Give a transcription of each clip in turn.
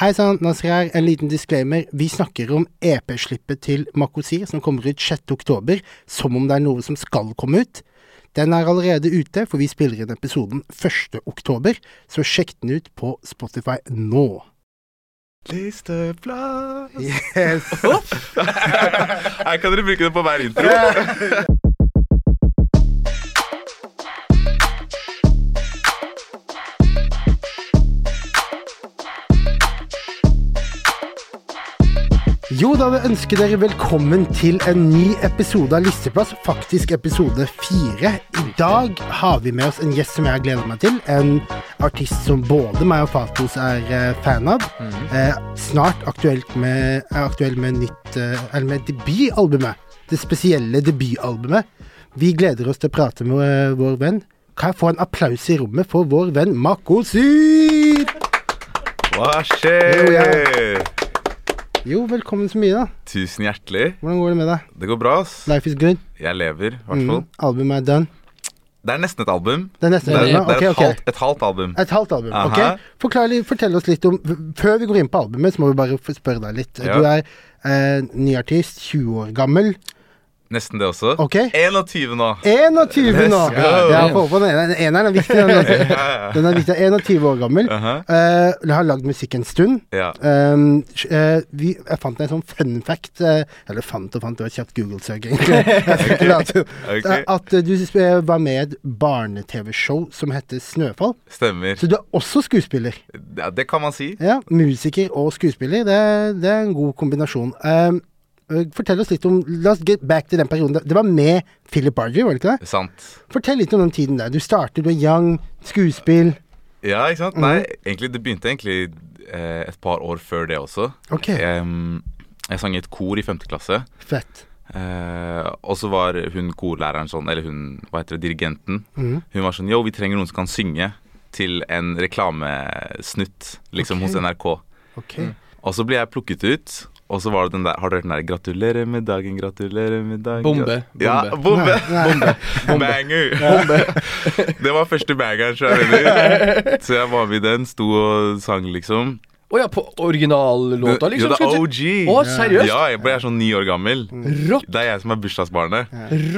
Hei sann, Nasser her. En liten disclaimer. Vi snakker om EP-slippet til Makosir som kommer ut 6.10, som om det er noe som skal komme ut. Den er allerede ute, for vi spiller inn episoden 1.10, så sjekk den ut på Spotify nå. Listeplass Yes. Her kan dere bruke det på hver intro. Jo da, vi ønsker dere velkommen til en ny episode av Listeplass, faktisk episode fire. I dag har vi med oss en gjest som jeg har gleda meg til. En artist som både meg og Fatos er eh, fan av. Eh, snart aktuelt med, er aktuell med, nytt, eh, eller med debutalbumet. Det spesielle debutalbumet. Vi gleder oss til å prate med eh, vår venn. Kan jeg få en applaus i rommet for vår venn Mako Syr? Hva Jo, skjer? Jo, velkommen så mye, da. Tusen hjertelig. Hvordan går det med deg? Det går bra, ass. Life is good. Jeg lever, i hvert fall. Mm. Albumet er done. Det er nesten et album. Det er nesten Det er, det albumet. Ok, er et, ok. halvt, et halvt album. Et halvt album. ok? Aha. Forklar litt- Fortell oss litt om Før vi går inn på albumet, så må vi bare få spørre deg litt. Ja. Du er eh, ny artist, 20 år gammel. Nesten det også. Ok? 21 nå. 21 nå! Let's go. Ja, jeg får på den ene. Den eneren er viktig. Den, altså. Ja, den er viktig. 21 år gammel. Aha. Eh, jeg har lagd musikk en stund. Ja. Um, sj- eh, vi, jeg fant en sånn fun fact eh, Eller fant og fant, det var et kjapt Google-søk, egentlig. Jeg skal ikke late som. Ok. Eh, At eh, du eh, var med i et barne-TV-show som heter Snøfall. Stemmer. Så du er også skuespiller. Ja, det kan man si. Ja, Musiker og skuespiller, det, det er en god kombinasjon. Um, eh, fortell oss litt om La oss get back til den perioden. Det var med Philip Barger, var det ikke det? Sant. Fortell litt om den tiden der. Du starter, du er young, skuespill. Ja, ikke sant? Nei, Mm. egentlig, det begynte egentlig eh, et par år før det også. Ok, Jeg, jeg sang i et kor i femte klasse. fett. Eh, og så var hun korlæreren sånn, eller hun, hva heter det, dirigenten. Mhm. Hun var sånn Yo, vi trenger noen som kan synge til en reklamesnutt, liksom Ok. hos NRK. Ok. Og så ble jeg plukket ut, og så var det den der Har du hørt den der 'Gratulerer med dagen, gratulerer med dagen'? Bombe, grat-» Ja, bombe. bombe. Nei, nei. Banger. Bombe. Det var første bangeren, så jeg mener. Så jeg var med i den, sto og sang, liksom. Å ja, på originallåta, Jo, liksom? det er skal OG. du- Å, seriøst? Ja, jeg ble sånn ni år gammel. Mm. Rått! Det er jeg som er bursdagsbarnet.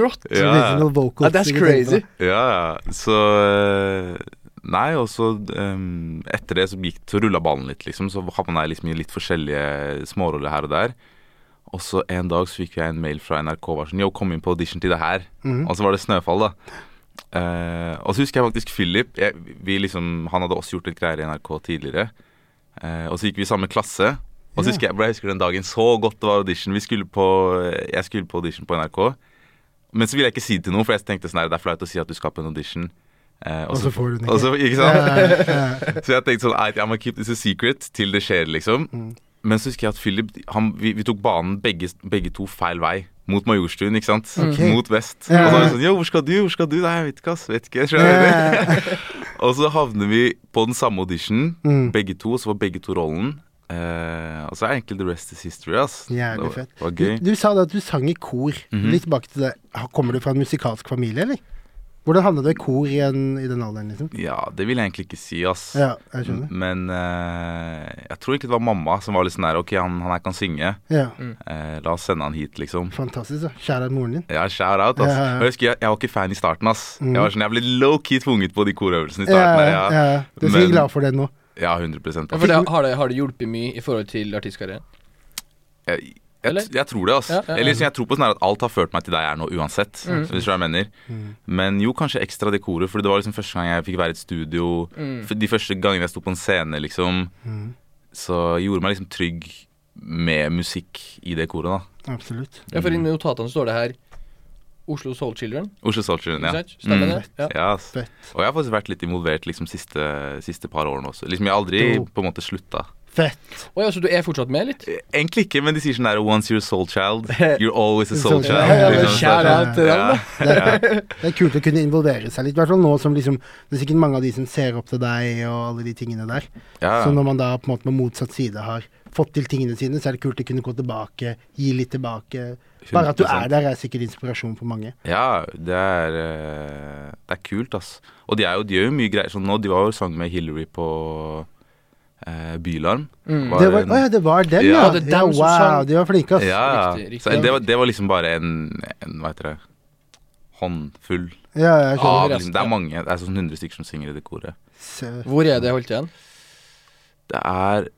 Rått! Ja. Original sånn vocals. Ja, that's ikke sant? crazy. Ja, ja. Så eh, Nei, og så ehm, etter det så, gikk, så rulla ballen litt, liksom. Så havna jeg liksom i litt forskjellige småroller her og der. Og så en dag så fikk jeg en mail fra NRK var sånn Yo, kom inn på audition til det her. Mhm. Og så var det Snøfall, da. Eh, og så husker jeg faktisk Philip. Jeg, vi liksom, han hadde også gjort litt greier i NRK tidligere. Eh, og så gikk vi i samme klasse. Og Ja. så husker jeg, bro, jeg husker den dagen så godt det var audition. Vi skulle på, jeg skulle på audition på NRK. Men så ville jeg ikke si det til noen, for jeg tenkte sånn her, det er flaut å si at du skal på en audition. Eh, Og så får du den og ikke. så- ikke sant? Så jeg tenkte sånn, I'm gonna keep this a secret til det skjer, liksom. Mm. Men så husker jeg at Philip, han, vi, vi tok banen begge, begge to feil vei. Mot Majorstuen, ikke sant? Mm. Ok. Mot vest. Ja. Og så var det sånn, jo, hvor skal du, hvor skal du? Nei, jeg vet ikke, ass, vet ikke. skjønner du? Ja. Og så havner vi på den samme audition, Mm. begge to, og så var begge to rollen. Eh, og så er egentlig the rest is history, ass. Det Jævlig var- fett. var Du, gøy. du sa da at du sang i kor. Litt tilbake til det. Ha- Kommer du fra en musikalsk familie, eller? Hvordan havna du i kor i, en, i den alderen, liksom? Ja, det vil jeg egentlig ikke si, ass. Ja, Mm. jeg skjønner. Mm. Men eh, jeg tror ikke det var mamma som var litt sånn der Ok, han, han her kan synge. Ja, Eh, la oss sende han hit, liksom. Fantastisk. da. Kjære moren din. Ja, shout out, Ja, ass. ja, ja. Og Jeg husker jeg, jeg var ikke fan i starten, ass. Mhm. Jeg var sånn, jeg ble low-key tvunget på de korøvelsene i Ja, starten. Ja, ja. ja. Du skal Men- være glad for det nå. ja 100 Ja, ass. for det, har, det, har det hjulpet mye i forhold til artistkarrieren? Jeg, Eller? jeg, jeg tror det, ass. Ja, ja, ja. Eller liksom, jeg tror på sånn her at alt har ført meg til der jeg er nå, uansett. Mhm. Hvis du skjønner hva jeg mener. Mhm. Men jo, kanskje ekstra det koret, for det var liksom første gang jeg fikk være i et studio. Mm. For De første gangene jeg sto på en scene, liksom. Mhm. Så gjorde meg liksom trygg med musikk i det koret, da. Absolutt. Ja, for i Mm. notatene står det her Oslo Soul Children. Oslo Soul Children, Ikke ja. sant? Stemmer Mm. det? Ja. Ja, ass. Fett. Og jeg har faktisk vært litt involvert liksom siste, siste par årene også. Liksom Jeg har aldri Dope. på en måte slutta. Fett. Å ja, så du er fortsatt med litt? Eh, Egentlig ikke, men de sier sånn der Once you're a soul child, you're always a Soul soul child. child. Ja, men Liksom, shout sånn. out til dem, Ja, Det er kult å kunne involvere seg litt. I hvert fall nå som liksom Det er sikkert mange av de som ser opp til deg og alle de tingene der. Så ja. når man da på en måte med motsatt side har fått til tingene sine, så er det kult å kunne gå tilbake, gi litt tilbake. Bare at du er 100%. der er sikkert inspirasjon for mange. ja det, er, eh, det er kult, ass. Og de, er jo, de gjør jo mye greier. Sånn nå, de var jo sang med Hillary på eh, Bylarm. Mm. Det var, en- å ja, det var den, ja. Ja, ja. det er dem som wow, sang. de var flinke, ass. Ja, Ja, Riktig, ja. riktig. Så det var, det var liksom bare en, en hva heter det håndfull ja jeg skjønner. av resten, liksom, Det ja. er mange, det er sånn 100 stykker som synger i det koret. Se- Hvor er det holdt igjen? Det er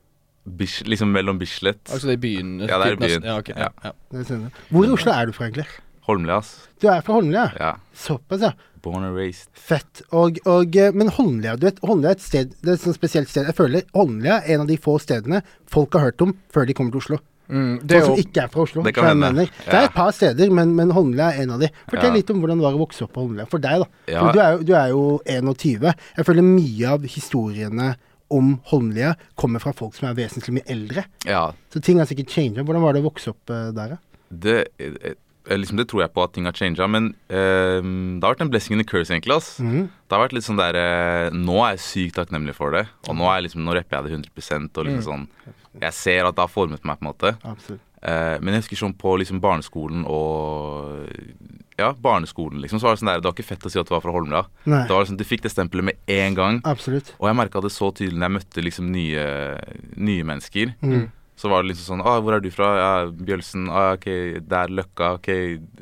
Bis, liksom mellom Bislett Altså det er i byen? Ja, det er i typ nesten- byen. Ja, ok, ja. Ja. det skjønner jeg. Hvor i Oslo er du fra, egentlig? Holmlia, ass. Du er fra Holmlia? ja. Ja. Såpass, ja. Born and raised. Fett. Og, og, eh, men Holmlia du vet, Holmlia er et sted, det er et sånt spesielt sted. Jeg føler Holmlia er en av de få stedene folk har hørt om før de kommer til Oslo. Mm, det er Folk jo som ikke er fra Oslo. Det kan så jeg hende. mener. Det er Ja. et par steder, men, men Holmlia er en av de. Fortell Ja. litt om hvordan det var å vokse opp på Holmlia for deg, da. Ja. For du er, jo- du er jo 21. Jeg føler mye av historiene om Holmlia kommer fra folk som er vesentlig mye eldre. Ja, Så ting har sikkert changet. Hvordan var det å vokse opp eh, der, da? det, eh, eh, liksom det tror jeg på at ting har changa, men eh, det har vært en blessing in the curse, egentlig. Mm. ass. Det har vært litt sånn der eh, Nå er jeg sykt takknemlig for det, og nå, er jeg liksom, nå rapper jeg det 100 og liksom sånn Jeg ser at det har formet meg, på en måte. Absolutt. Eh, men jeg husker sånn på liksom barneskolen og Ja, barneskolen, liksom. Så var det sånn der Det var ikke fett å si at du var fra Holmlia. Nei. Det var liksom, Du fikk det stempelet med en gang. Absolutt. Og jeg merka det så tydelig når jeg møtte liksom nye, nye mennesker. Mm. Så var det liksom sånn ah, 'Hvor er du fra?' Ja, 'Bjølsen'. Ah, 'Ok, det er Løkka'. Ok,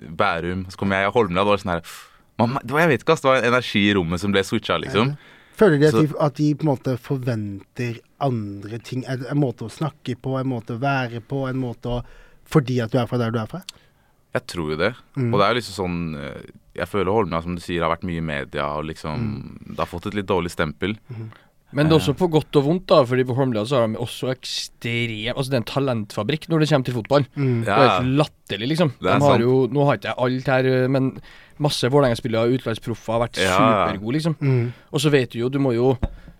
Bærum. Så kom jeg i Holmlia. Det var sånn her Mamma, det var, Jeg vet ikke, ass. Det var en energi i rommet som ble switcha, liksom. Føler de at, Så- de at de på en måte forventer andre ting? En, en måte å snakke på, en måte å være på, en måte å Fordi at du er fra der du er fra? Jeg tror jo det. Mm. Og det er jo liksom sånn eh, Jeg føler Holmlia, som du sier, har vært mye i media og liksom Det har fått et litt dårlig stempel. Men det er også på godt og vondt, da. Fordi på Holmlia så har de også ekstrem Altså det er en talentfabrikk når det kommer til fotball. Mm. Det er Ja. helt latterlig, liksom. Det er de har sant. jo, nå har ikke jeg alt her, eh, men masse Vålerenga-spillere, utenlandsproffer, har vært Ja. supergode, liksom. Mm. Og så vet du jo, du må jo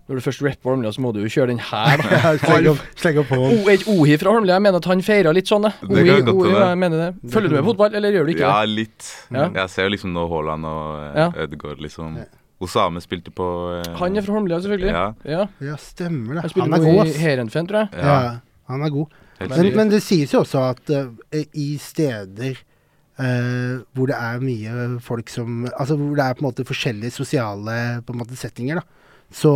Når du først rapper Holmlia, så må du jo kjøre den her, da. Slenge opp, sleng opp hånden. O- et Ohi fra Holmlia, jeg mener at han feira litt sånn, jeg. Det kan Ohi- godt Ohi, hende. ja, jeg mener det. Følger du med fotball, eller gjør du ikke Ja, det? litt. Ja. Jeg ser jo liksom nå Haaland og Ja. ja. Ødegaard, liksom. Osame spilte på eh, Han er fra Holmlia, selvfølgelig. Ja. Ja. Ja, stemmer det. Han Oh. spiller Han er god, nå i ass. Heerenveen, tror jeg. Ja. han er god. Helt Men, sykt. men det sies jo også at eh, i steder eh, hvor det er mye folk som Altså hvor det er på en måte forskjellige sosiale på en måte, settinger, da, så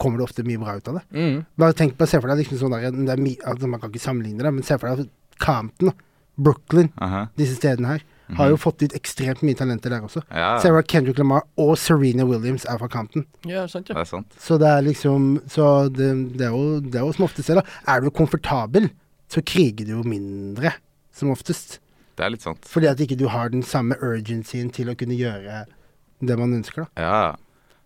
kommer det ofte mye bra ut av det. Mm. Bare tenk på, se for deg liksom sånn der, det er mi, altså Man kan ikke sammenligne det, men se for deg Campton, da. Brooklyn, Aha. disse stedene her. Har jo fått ut ekstremt mye talenter der også. Ja. Se for deg Kendrick Lamar og Serena Williams er fra Campton. Ja, sant, Det ja. er sant. Så det er liksom Så det, det, er, jo, det er jo som oftest det, da. Er du komfortabel, så kriger du jo mindre, som oftest. Det er litt sant. Fordi at ikke du har den samme urgencyen til å kunne gjøre det man ønsker, da. Ja.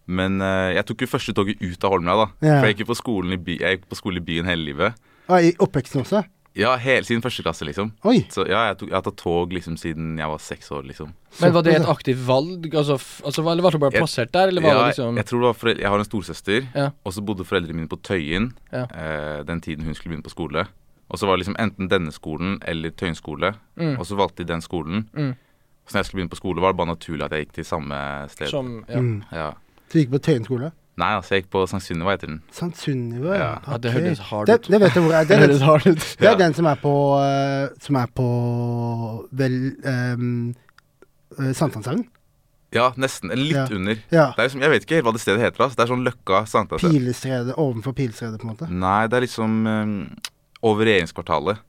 Men eh, jeg tok jo første toget ut av Holmlia, da. Ja. For jeg gikk jo på skolen i, by, jeg gikk på skole i byen hele livet. Ah, I oppveksten også? Ja, hele siden første klasse, liksom. Oi! Så ja, jeg, tok, jeg har tatt tog liksom siden jeg var seks år, liksom. Men var det såpass, et ja. aktivt valg? Altså, f altså hva- Eller ble du bare Jeg- plassert der, eller var ja, det liksom jeg, tror det var forel- jeg har en storesøster, Ja. og så bodde foreldrene mine på Tøyen Ja. eh, den tiden hun skulle begynne på skole. Og så var det liksom enten denne skolen eller Tøyen skole, og så valgte de den skolen. Mm. Så når jeg skulle begynne på skole, var det bare naturlig at jeg gikk til samme sted. som ja. Mm. Ja. Du gikk på Tøyen skole? Nei, altså, jeg gikk på Sankt Sunniva, heter den. Sant Sunniva, ja. Ja. Ja, det Ok. hørtes hard det, ut. det vet jeg hvor er. Det Det er den, høres hardt ut. det Ja. er den som er på eh, Som er på Vel um, Sankthanshaugen? Ja, nesten. Eller litt Ja. under. Ja. Det er liksom, jeg vet ikke helt hva det stedet heter. Altså. Det er sånn Løkka Sankthanshaugen. Pilestredet, ovenfor Pilestredet, på en måte. Nei, det er liksom eh, over regjeringskvartalet.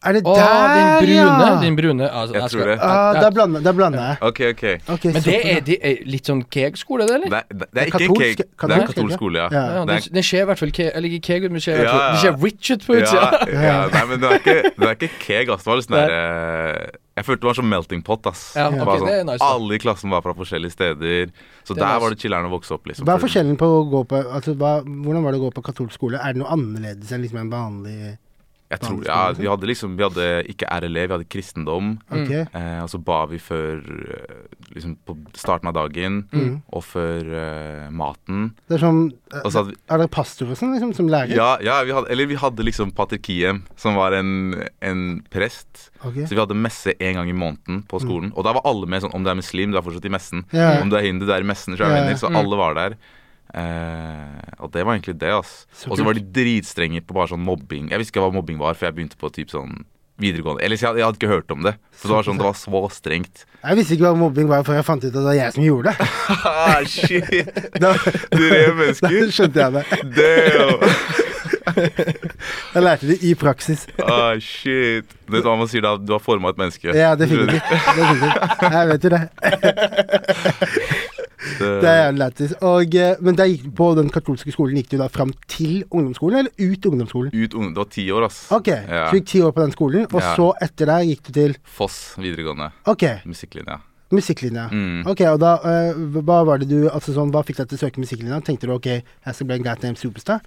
Er det Å, der, den brune. ja! Den brune altså, Jeg tror det. Ah, jeg- der blander, der blander jeg. OK, OK. Ok, Men så- det er, det er litt sånn keeg skole, det, eller? Det, er- det, det er ikke en Katolsk- cake. Det er en katolsk, katolsk skole, ja. ja. Ja, det det, er- det skjer i hvert fall ke Eller ikke keg, men det skjer, i hvert Ja, fall- det ja. skjer rich ut på utsida. Ja, ja, nei, men det er ikke, det er ikke keg, ass. Det var liksom Nei. der eh, Jeg følte det var sånn melting pot, ass. Ja, det ok, var sånn, det er nice, da. alle i klassen var fra forskjellige steder. Så Det er der nice. var det chiller'n å vokse opp, liksom. Hva er For- forskjellen på å gå på altså, hva, Hvordan var det å gå på katolsk skole? Er det noe annerledes enn liksom en vanlig Mm. Jeg tror, ja, vi hadde liksom Vi hadde ikke RLE, vi hadde kristendom. Ok? Eh, og så ba vi før eh, liksom på starten av dagen, Mm. og før eh, maten. Det er sånn eh, Og så hadde vi Er det pastor og sånn liksom, som lærer? Altså- Ja, ja vi hadde, eller vi hadde liksom pater Kiem, som var en, en prest. Ok. Så vi hadde messe en gang i måneden på skolen. Og der var alle med, sånn om du er muslim, du er fortsatt i messen. Mm. Ja. Om du er hindu, du er i messen. Så, Ja, Mm. ja. så alle var der. Eh, og det var egentlig det, ass. Så Og så var de dritstrenge på bare sånn mobbing. Jeg visste ikke hva mobbing var, for jeg begynte på typ sånn videregående. Eller så jeg, jeg hadde ikke hørt om det. Så det var sånn, det var så strengt. Jeg visste ikke hva mobbing var før jeg fant ut at det var jeg som gjorde det. Ah, shit! Da, Drev da mennesker. skjønte jeg det. Damn! Jeg lærte det i praksis. Ah, shit. Du vet hva man sier da? Du har forma et menneske. Ja, definitivt. definitivt. Jeg vet jo det. Det er jævlig lættis. Og, eh, Men der gikk, på den katolske skolen gikk du da fram til ungdomsskolen, eller ut ungdomsskolen? eh, Ut ungdom. Du var ti år, ass. Ok, Ja. så du gikk ti år på den skolen, og Ja. så etter der gikk du til Foss videregående. Ok, Musikklinja. musikklinja. Mm. Ok, og da, eh, Hva var det du, altså sånn, hva fikk deg til å søke musikklinja? Tenkte du ok, jeg skal bli en guy named superstar?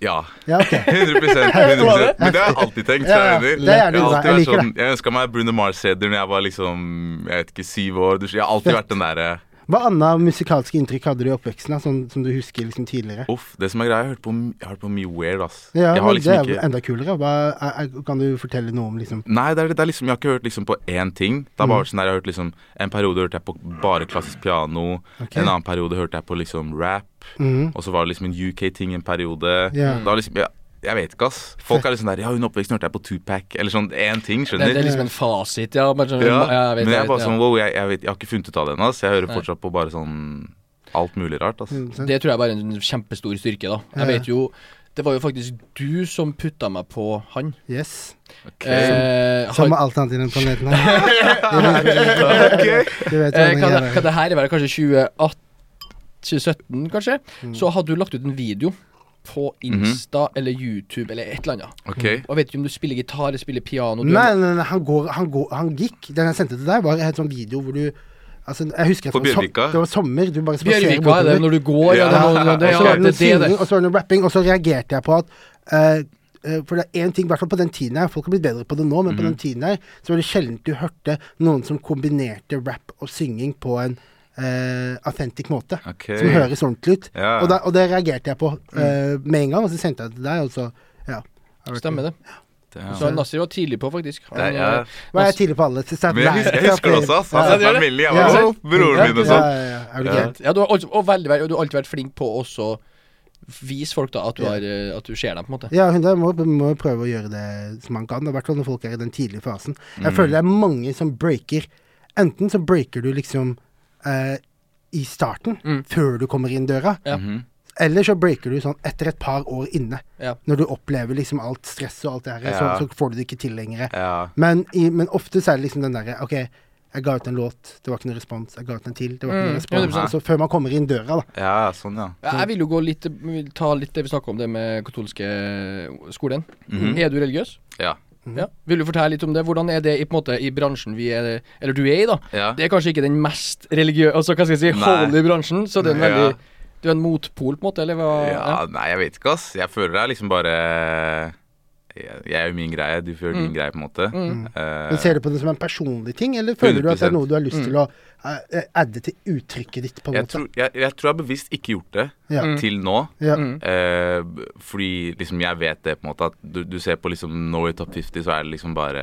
Ja. Ja, ok. 100, 100%. Men det har jeg alltid tenkt. Ja, ja. skjønner du? Det er gjerne jeg bra. har Jeg alltid vært liker det. sånn, jeg ønska meg Bruno Mars-CD når jeg var liksom Jeg vet ikke, syv år. Du- Jeg har alltid vært den eh, derre Hva annet musikalske inntrykk hadde du i oppveksten, da, sånn, som du husker liksom tidligere? Uff, det som er greia, jeg har hørt på, jeg har hørt på mye weird, ass. Ja, jeg men Det har er liksom jo ikke enda kulere. Hva, er, er, kan du fortelle noe om liksom Nei, det er, det er liksom, jeg har ikke hørt liksom på én ting. Det har bare vært sånn der, jeg har hørt liksom En periode hørte jeg på bare klassisk piano. Ok. En annen periode hørte jeg på liksom rap. Mm. Mhm. Og så var det liksom en UK-ting en periode. Ja. Da liksom, jeg, jeg vet ikke, ass. Folk er liksom der Ja, under oppveksten hørte jeg på Tupac. Eller sånn én ting, Det, skjønner det er liksom en fasit, ja. Men, sånn, Ja, men jeg er jeg vet, jeg vet, bare ja. sånn wow, jeg, jeg, vet, jeg har ikke funnet ut av det ennå. Så jeg hører Nei. fortsatt på bare sånn alt mulig rart. ass. sånn- Det tror jeg bare er en kjempestor styrke, da. Ja. Jeg vet jo Det var jo faktisk du som putta meg på han. Yes. Ok. Eh, Som han med alt annet i den planeten her. Du vet eh, hvordan jeg kan, det- er. kan det her være kanskje 2018 2017, kanskje? Mm. Så hadde du lagt ut en video på Insta Mhm. eller YouTube eller et eller annet. ok. Og jeg vet ikke om du spiller gitar eller spiller piano. Du Nei, nei, nei han, går, han, går, han gikk. Den jeg sendte til deg, var en sånn video hvor du altså, jeg husker at På det var som- Bjørvika? Det var sommer. Du bare spaserer Bjørvika er det når du går, Ja. ja. Det, er noe- det, Og ja, så var det noe det, det, det. synging, og så var det noe rapping, og så reagerte jeg på at eh, eh, For det er én ting, i hvert fall på den tiden her, folk har blitt bedre på det nå, men på Mhm. den tiden her, så var det sjelden du hørte noen som kombinerte rap og synging på en uh, authentic måte. Ok. Som høres ordentlig ut. Ja. Mm. Og, da, og det reagerte jeg på eh, med en gang, og så sendte jeg det til deg, og så ja. Stemmer det. Damn. Så Nasir var tidlig på, faktisk. Han, Det er- ja. Sånn, eh, Var jeg tidlig på alle? Så- Men jeg husker, jeg husker det også, ass. Han Ja. sendte meg en melding. Jeg var Ja. sånn, broren min og sånn. Ja, ja, ja. Er du Ja. gæren? Ja, du har, også, og veldig, veldig, og du har alltid vært flink på å også vise folk da at du, Ja. har, eh, at du ser dem, på en måte. Ja, hun der må, må jo prøve å gjøre det som man kan, i hvert fall når folk er i den tidlige fasen. Jeg føler det Mm. er mange som breaker. Enten så breaker du liksom eh, i starten, før du kommer inn døra, Mm. Ja. Mhm. eller så breaker du sånn etter et par år inne. Ja. Når du opplever liksom alt stresset og alt det her, Ja. så, så får du det ikke til lenger. Ja. Men, i, men ofte så er det liksom den derre OK, jeg ga ut en låt, det var ikke noe respons. Jeg ga ut en til, det var ikke Mm, noe respons. 100%. Altså, før man kommer inn døra, da. ja, sånn, ja. Ja, Jeg vil jo gå litt, vil ta litt det vi snakka om, det med katolske eh, skolen. Mhm. Er du religiøs? Ja. Ja. Vil du fortelle litt om det? Hvordan er det i, på en måte, i bransjen vi er Eller du er i, da. Ja. Det er kanskje ikke den mest religiøse Altså, hva skal jeg si, Nei. holy bransjen, så det er en Nei, ja. veldig Du er en motpol, på en måte, eller hva? ja, nei, jeg vet ikke, ass. Jeg føler det er liksom bare Jeg jeg er jo min greie, du føler din greie, på en måte. Eh, Men ser du på det som en personlig ting, eller føler du at det er 100%. noe du har lyst til å eh, adde til uttrykket ditt, på en jeg, måte? tror, Mm. jeg, jeg tror jeg bevisst ikke gjort det Mm. Ja. til nå. Ja. Mm. Eh, fordi liksom jeg vet det, på en måte. At du, du ser på liksom Norway Top 50, så er det liksom bare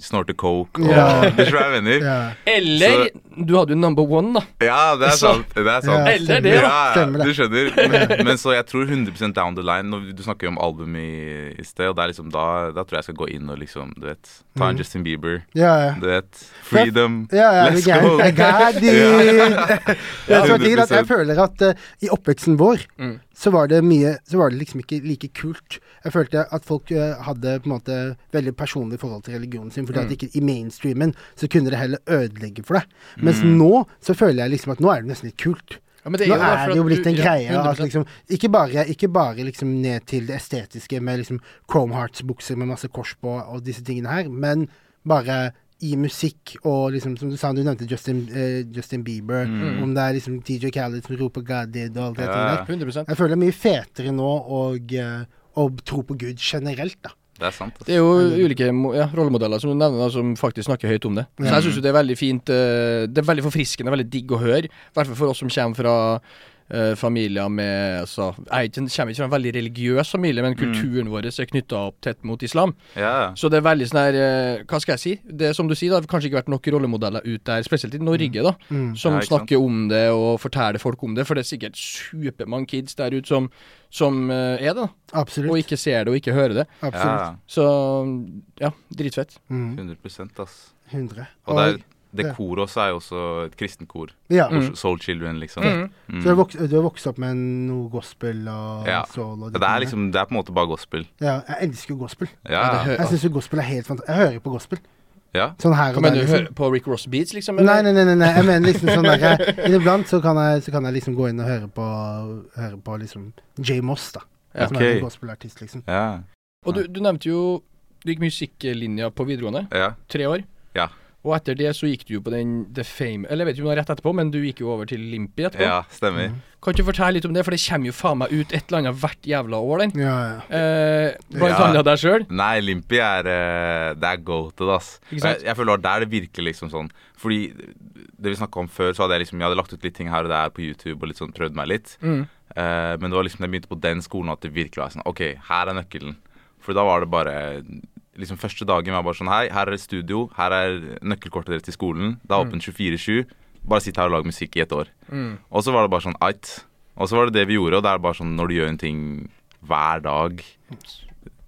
snorte coke og Ja. Du skjønner hva jeg mener? Ja. Eller Du hadde jo number one, da. Ja, det er Så- sant. Det er sant. Ja, Eller det, da. Ja, ja, Stemmer det. Du skjønner. Men, men så jeg tror 100 down the line når Du snakker jo om album i, i sted, og det er liksom da, da tror jeg jeg skal gå inn og liksom, du vet Ta en Justin Bieber. Ja, ja. Du vet Freedom. Ja, ja, Let's det er go. gæren. God Det som er digg, er at jeg 100%. føler at eh, i oppveksten vår Mm. så var det mye Så var det liksom ikke like kult. Jeg følte at folk eh, hadde på en måte veldig personlig forhold til religionen sin, fordi at ikke i mainstreamen så kunne det heller ødelegge for deg. Mens Mm. nå så føler jeg liksom at nå er det nesten litt kult. Ja, men det Nå da er for det jo at blitt du- en ja, greie at 100%. liksom Ikke bare, ikke bare liksom ned til det estetiske med liksom Chrome Hearts-bukser med masse kors på og disse tingene her, men bare i musikk og liksom Som du sa, du nevnte Justin, eh, Justin Bieber. Mm. Om det er liksom DJ Khaled som roper 'God did' og alt det Ja. tingene der. 100 Jeg føler det er mye fetere nå og, eh, å tro på Gud generelt, da. Det er sant. altså. ass. Det er jo ulike mo- ja, rollemodeller som du nevner da, som faktisk snakker høyt om det. Så Mm. jeg syns jo det er veldig fint eh, Det er veldig forfriskende, veldig digg å høre. I hvert fall for oss som kommer fra eh, familier med altså, Jeg er ikke- kommer ikke fra en veldig religiøs Mm. familie, men kulturen vår er knytta opp tett mot islam. Ja. Så det er veldig sånn her eh, Hva skal jeg si? Det er som du sier, da, det har kanskje ikke vært nok rollemodeller ut der, spesielt i Norge, da, som Mm. Ja, ikke sant. snakker om det og forteller folk om det. For det er sikkert supermange kids der ute som, som eh, er det, da, og Absolutt. ikke ser det og ikke hører det. ja. Absolutt. Mm. Så ja, dritfett. 100 ass. 100. Og det er, Det koret også er jo også et kristent kor. Ja. Mm. Soul Children, liksom. Mm. Så Mm. du har, vokst, du har vokst opp med noe gospel og Ja. soul og de Det er tingene. liksom, det er på en måte bare gospel. ja, Jeg elsker jo gospel. Ja, Ja, det hø- Jeg ja. syns jo gospel er helt fantastisk. Jeg hører på gospel. ja. Sånn her og Hva der, mener du, liksom. hører på Rick Ross Beats, liksom? Nei, nei, nei, nei, nei. jeg mener liksom sånn der jeg- Inniblant så kan jeg, så kan jeg liksom gå inn og høre på Høre på liksom J. Moss, da. Ja. Som er Ok. en gospelartist, liksom. ja. Og du, du nevnte jo du gikk musikklinja på videregående, ja. tre år. Ja. Og etter det så gikk du jo på den The Fame Eller jeg vet ikke om det var rett etterpå, men du gikk jo over til Limpi etterpå. ja stemmer. Mm. Kan ikke du fortelle litt om det, for det kommer jo faen meg ut et eller annet hvert jævla år, den. Ja, ja. Eh, blant Ja. annet deg sjøl. Nei, Limpi er eh, Det er goated, ass. Jeg, Ikke sant? jeg føler at der det virkelig liksom sånn Fordi det vi snakka om før, så hadde jeg liksom Jeg hadde lagt ut litt ting her og der på YouTube og litt sånn prøvd meg litt. Mm, Eh, men det var liksom da jeg begynte på den skolen at det virkelig var sånn OK, her er nøkkelen. For da var det bare Liksom Første dagen var bare sånn Hei, her er et studio. Her er nøkkelkortet deres til skolen. Det Mm. er åpent 24-7. Bare sitt her og lag musikk i et år. Og så var det bare sånn Ait. Og så var det det vi gjorde, og det er bare sånn når du gjør en ting hver dag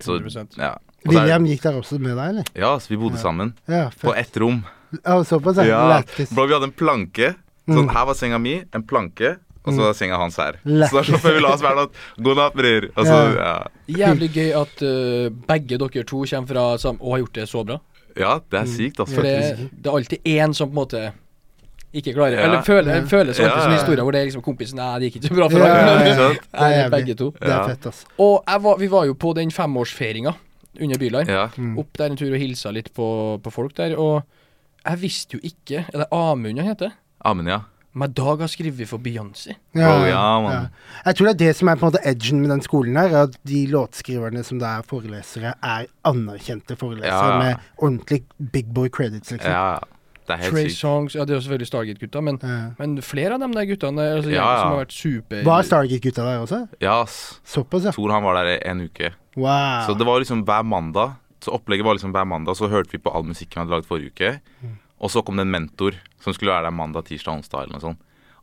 så, 100%. ja. Og så er- William gikk der også med deg, eller? ja, så vi bodde sammen. Ja, På fett. ett rom. Ja, Såpass, ja. Ja, Lættis. Mm. Bro, vi hadde en planke. Sånn, Her var senga mi, en planke, og så var senga hans her. Så da Lættis. slapp vi la oss hver natt. God natt, bror. Og så, ja. Jævlig gøy at eh, begge dere to kommer fra sam og har gjort det så bra. ja, det er sykt, altså. For det, det er alltid én som på en måte ikke klarer Ja. Eller føler, føles alltid Ja. som historier hvor det er liksom kompisen Nei, det gikk ikke så bra for Ja, deg. ja, Ikke ja. sant? Det er Nei, jævlig. begge to. Det Ja. er fett, altså. Og jeg var, vi var jo på den femårsfeiringa under Bylarm. Ja. Mm. Opp der en tur og hilsa litt på, på folk der. Og jeg visste jo ikke Er det Amund han heter? Amen, ja. Men Dag har skrevet for Beyoncé. Bro, ja, mann. Jeg tror det er det som er på en måte edgen med den skolen her, at de låtskriverne som det er forelesere, er anerkjente forelesere Ja. med ordentlig big boy credits, liksom. ja. Det er Trey helt sykt. Songs Ja, det er jo selvfølgelig Stargate-gutta, men, Ja. men flere av dem der guttene Ja, altså, ja. som har vært super Eh, Var Stargate-gutta der også? Ja, ass. Såpass, ja. Tor han var der en uke. Wow. Så det var liksom hver mandag. Så opplegget var liksom hver mandag, så hørte vi på all musikken vi hadde laget forrige Mm. uke. Og så kom det en mentor som skulle være der mandag, tirsdag, onsdag eller noe sånt.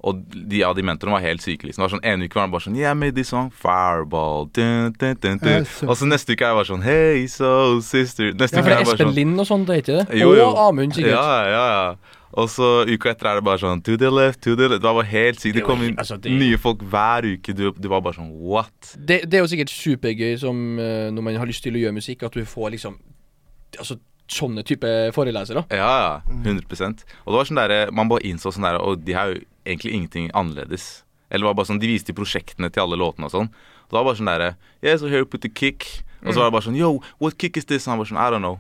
Og de av de mentorene var helt syke. liksom. Det var sånn, En uke var han bare sånn Yeah, I made this song, Fireball. Dun, dun, dun, Ja, dun. så- Og så neste uke er jeg bare sånn Hey, so sister. Neste Ja, for uke det er er jeg bare Espen sånn Lind og sånn, det er ikke det? Jo, jo. Og Amund, sikkert. Ja, ja, ja. Og så uka etter er det bare sånn To the left, to the left. Det var bare helt sykt. Det jo kom he- inn altså, det- nye folk hver uke. Du, du var bare sånn What? Det, det er jo sikkert supergøy som, eh, når man har lyst til å gjøre musikk, at du får liksom Altså sånne type forelesere. Ja, ja. 100 Og det var sånn der, Man bare innså sånn der Og de har jo egentlig ingenting annerledes. Eller det var bare sånn, De viste prosjektene til alle låtene og sånn. Og da var det bare sånn der Yeah, so here we put the kick. Og så var det bare sånn Yo, what kick is this? Og han bare sånn I don't know.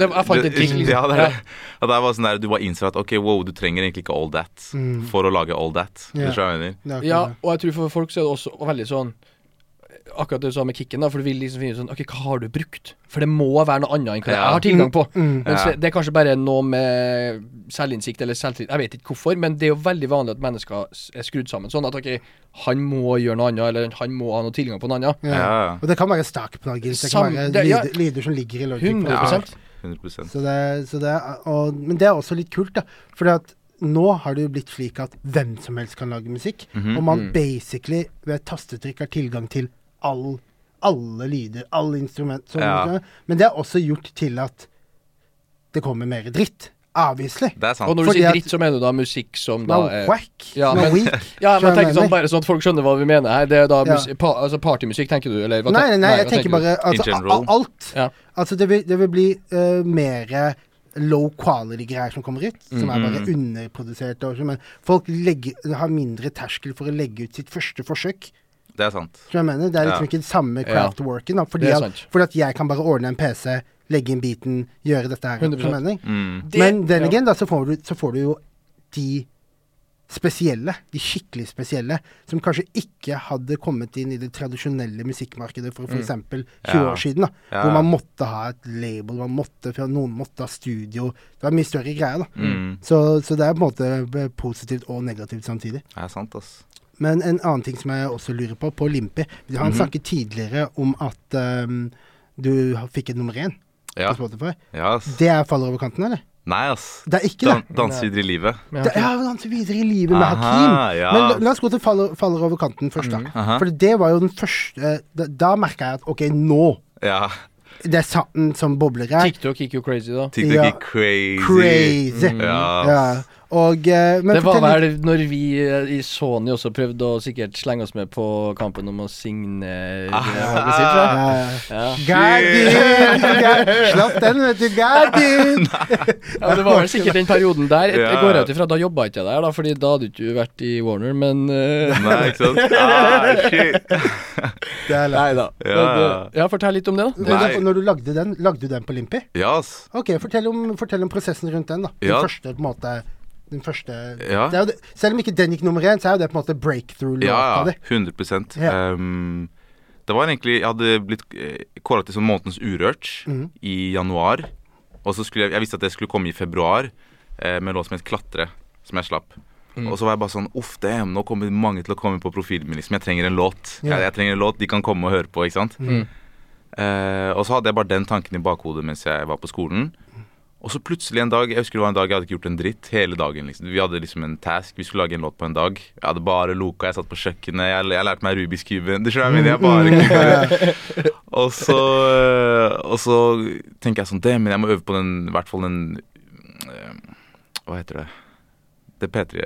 det var- jeg fant Det- et kick, liksom. Ja, det er Ja. det. Og der var sånn der, Du bare innser at ok, wow, du trenger egentlig ikke all that for å lage all that. Ja. Det tror jeg jeg mener. Det er akkurat Ja, det. og jeg tror for folk så er det også veldig sånn Akkurat det du sa med kicken, da, for du vil liksom finne ut sånn OK, hva har du brukt? For det må være noe annet enn hva jeg Ja. har tilgang på. Mm, Mens Ja. det, det er kanskje bare noe med selvinnsikt eller selvtillit Jeg vet ikke hvorfor, men det er jo veldig vanlig at mennesker s- er skrudd sammen sånn at OK, han må gjøre noe annet, eller han må ha noe tilgang på noe annet. Ja. Ja, ja. Og det kan være starkplagging, det Sam- kan være det- ja. lyder, lyder som ligger i logic. 100 Ja. Ja. 100 Så det, så det er- og, men det er også litt kult, da. Fordi at nå har det jo blitt slik at hvem som helst kan lage musikk. Mhm. Og Mm. man basically ved et tastetrykk har tilgang til all, alle lyder, alle instrument. Sånn, Ja. Men det er også gjort til at det kommer mer dritt. Avviselig. Det er sant. Og når du Fordi sier at- dritt, så mener du da musikk Som som da er whack. ja, som er men- weak. Ja, men jeg Skjønner tenker du sånn, meg? bare sånn at folk skjønner hva vi mener her. Det er Ja. da musi pa, altså partymusikk, tenker du? Eller hva Nei, nei, nei, jeg hva tenker du? bare altså, In general. a- alt. Ja. Altså, det vil, det vil bli eh, mer low quality-greier som kommer ut, som er Mm. bare underprodusert. Og, som er- folk legger, har mindre terskel for å legge ut sitt første forsøk. Det er sant. Som jeg mener, Det er liksom Ja. ikke den samme craftworken. da, Fordi, Det er at, sant. fordi at jeg kan bare ordne en PC, legge inn beaten, gjøre dette her. som 100%. jeg mener. Mm. Det- Men den ja. igjen, da, så får, du, så får du jo de spesielle, de skikkelig spesielle, som kanskje ikke hadde kommet inn i det tradisjonelle musikkmarkedet for f.eks. 20 Mm. Ja. år siden. da, Ja. Hvor man måtte ha et label, man måtte, for noen måtte ha studio. Det var mye større greier. da. Mm. Så, så det er på en måte eh, positivt og negativt samtidig. Det er sant, ass. Men en annen ting som jeg også lurer på, på Limpi Han Mhm. snakket tidligere om at ehm, du ha- fikk et nummer én Ja, på Spotify. ja ass. Det er faller over kanten, eller? Nei, ass. Det er ikke det. Dan Danse videre i livet. Ja, Det ok. er jo han som videre i livet med Aha, Hakim. ja. Mhm. Men la, la oss gå til faller, faller over kanten først, da. aha. eh, For det var jo den første Da, da merka jeg at ok, nå Ja. Det er sanden som bobler her. TikTok gikk jo crazy, da. TikTok Ja. gikk crazy. Crazy. Ja. Ja. Og eh, men Det var fortell vel når vi eh, i Sony også prøvde å sikkert slenge oss med på kampen om å signere Ah. hva vi sier, tror Eh, jeg. Gardin! Ja. Gardin! Slapp den, vet du. Gardin! Ja, men det var vel sikkert den perioden der. Jeg, jeg Ja. går ut ifra, Da jobba ikke jeg der, da, Fordi da hadde ikke du vært i Warner, men eh, Nei, ikke sant? Ah, shit. Det er lett. Nei da. Ja. ja, fortell litt om det, da. Men da- Nei. Når du lagde den, lagde du den på Limpi? Ja, ass. Ok, fortell om, fortell om prosessen rundt den, da. Den Ja. første, på en måte den første Ja. det er jo det, Selv om ikke den gikk nummer én, så er jo det på en måte breakthrough-låta Ja, ja. di. 100 Ja. Ehm, Det var egentlig Jeg hadde blitt kåra til som månedens urørt Mm. i januar. Og så skulle jeg Jeg visste at det skulle komme i februar, eh, med en låt som het 'Klatre', som jeg slapp. Mm. Og så var jeg bare sånn Uff, damn, nå kommer mange til å komme på profilen min, liksom. Jeg trenger en låt. Ja. Mm. Jeg, jeg trenger en låt de kan komme og høre på, ikke sant. Eh, og så hadde jeg bare den tanken i bakhodet mens jeg var på skolen. Og så plutselig en dag Jeg husker det var en dag jeg hadde ikke gjort en dritt hele dagen. liksom Vi hadde liksom en task. Vi skulle lage en låt på en dag. Jeg hadde bare loka, jeg satt på kjøkkenet, jeg, jeg lærte meg Rubiks kube. Du skjønner, hva jeg Mm. mener, jeg bare og, så, øh, og så tenker jeg sånn Det, men jeg må øve på den, i hvert fall den øh, Hva heter det Det P3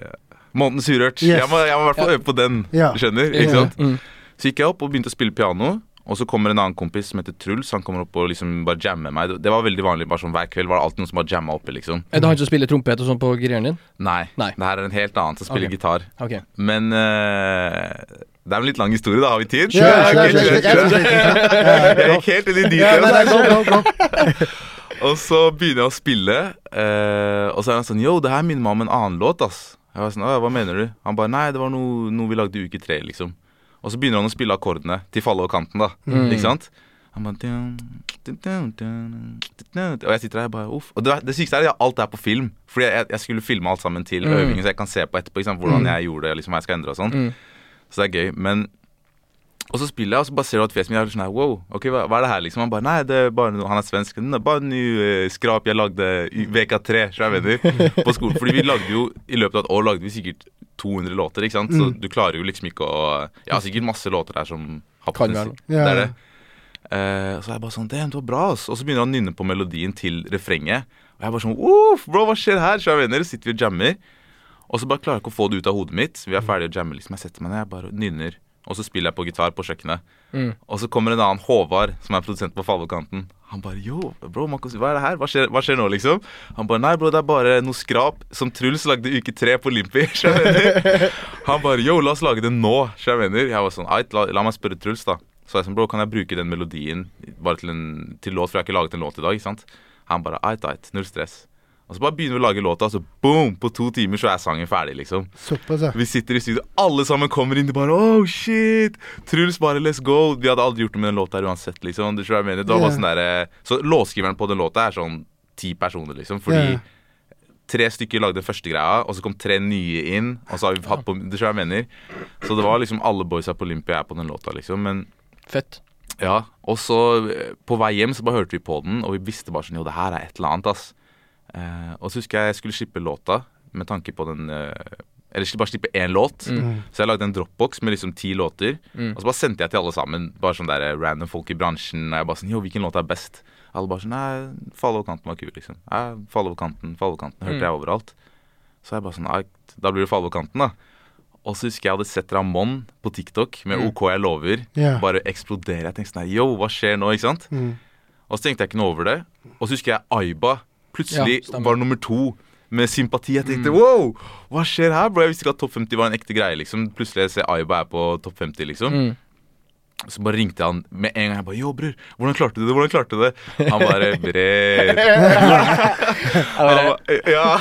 Månedens Urørt. Yes. Jeg, må, jeg må i hvert fall øve på den. Ja. Du skjønner? Ja. Ikke sant? Mm. Så gikk jeg opp og begynte å spille piano. Og så kommer en annen kompis som heter Truls. Han kommer opp og liksom bare jammer meg. Det var veldig vanlig. bare sånn Hver kveld var det alltid noen som bare jamma oppe, liksom. Er det han som spiller trompet og sånn på greieren din? Nei, Nei. det her er en helt annen som spiller Ok. gitar. Ok. Men eh, det er en litt lang historie, da. Har vi tid? Ja, Ja, ja, ok, ja, ja, kjør, ja, kjør. Jeg gikk helt inn i Ja, nei, nei, gå, details. gå, gå. Og så begynner jeg å spille, eh, og så er han sånn Yo, det her minner meg om en annen låt, ass. Jeg var sånn, «Åh, Hva mener du? Han bare Nei, det var noe, noe vi lagde i uke tre, liksom. Og så begynner han å spille akkordene til falle over kanten, da. Mm. Ikke sant? Han bare dun, dun, dun, dun, dun, dun. Og jeg sitter der og bare uff. Og det, det sykeste er at alt er på film. Fordi jeg, jeg skulle filme alt sammen Mm. til øvingen, så jeg kan se på etterpå ikke sant? hvordan jeg gjorde det, liksom, hva jeg skal endre og sånn. Så det er gøy. Men og så spiller jeg, og så bare ser du at fjeset mitt er sånn her Wow, ok, hva, hva er det her, liksom? Han bare Nei, det er bare noe Han er svensk. Det er bare en ny eh, skrap jeg lagde i VK3, så jeg venner, på skolen. Fordi vi lagde jo I løpet av et år lagde vi sikkert 200 låter, ikke sant? Mm. Så du klarer jo liksom ikke å Jeg har sikkert masse låter her som har Kan potensial. være noe. Det Ja. er det. Eh, og så er jeg bare sånn Damn, det var bra, ass. Og så begynner han å nynne på melodien til refrenget. Og jeg er bare sånn Uff, bro, hva skjer her? Så jeg venner, sitter vi og jammer. Og så bare klarer jeg ikke å få det ut av hodet mitt. Vi er ferdige å jamme, liksom. Jeg setter meg ned, jeg bare nynner. Og så spiller jeg på gitar på kjøkkenet. Og så kommer en annen Håvard, som er produsent på Fallokanten. Han bare Yo, bro, Markus, hva er det her? Hva skjer, hva skjer nå, liksom? Han bare Nei, bro, det er bare noe skrap som Truls lagde i uke tre på Olympi. skjønner du? Han bare Yo, la oss lage det nå, skjønner du? Jeg var sånn Ait, la, la meg spørre Truls, da. Så jeg sånn, bro, kan jeg bruke den melodien bare til en til låt, for jeg har ikke laget en låt i dag, ikke sant? Han bare Ait, ait, null stress. Og så bare begynner vi å lage låta, og så boom! På to timer så er sangen ferdig, liksom. Såpass, ja. Vi sitter i studio, alle sammen kommer inn og bare Oh shit! Truls bare let's go! Vi hadde aldri gjort noe med den låta her uansett, liksom. Du skjønner hva jeg mener? Det var bare sånn der, eh, Så låtskriveren på den låta er sånn ti personer, liksom. Fordi Ja. tre stykker lagde den første greia, og så kom tre nye inn. Og så har vi hatt på Du skjønner hva jeg mener? Så det var liksom alle boysa på Olympia er på den låta, liksom. Men Fett. ja, og så eh, på vei hjem så bare hørte vi på den, og vi visste bare sånn Jo, det her er et eller annet, ass. Eh, og så husker jeg jeg skulle slippe låta med tanke på den eh, Eller skulle bare slippe én låt. Så jeg lagde en dropbox med liksom ti låter. Og så bare sendte jeg til alle sammen, bare sånn der eh, random folk i bransjen. Og jeg bare sånn Jo, hvilken låt er best? Alle bare sånn Nei, Fall over kanten var kul, liksom. Nei, Fall over kanten, Fall over kanten. Hørte jeg overalt. Så jeg bare sånn Nei, da blir det Fall over kanten, da. Og så husker jeg jeg hadde sett Ramón på TikTok med OK, jeg lover. Ja. Bare eksplodere. Jeg tenkte sånn her, Yo, hva skjer nå? Ikke sant? Og så tenkte jeg ikke noe over det. Og så husker jeg Aiba plutselig Ja, stemmer. Mm. var nummer to med sympati. Jeg tenkte wow, hva skjer her, bro? Jeg visste ikke at topp 50 var en ekte greie, liksom. Plutselig ser jeg Aiba er på topp 50, liksom. Mm. Så bare ringte han med en gang. Jeg bare 'Yo, bror, hvordan klarte du det?' Hvordan klarte du det? Han bare 'Bred'. Han ba- Ja.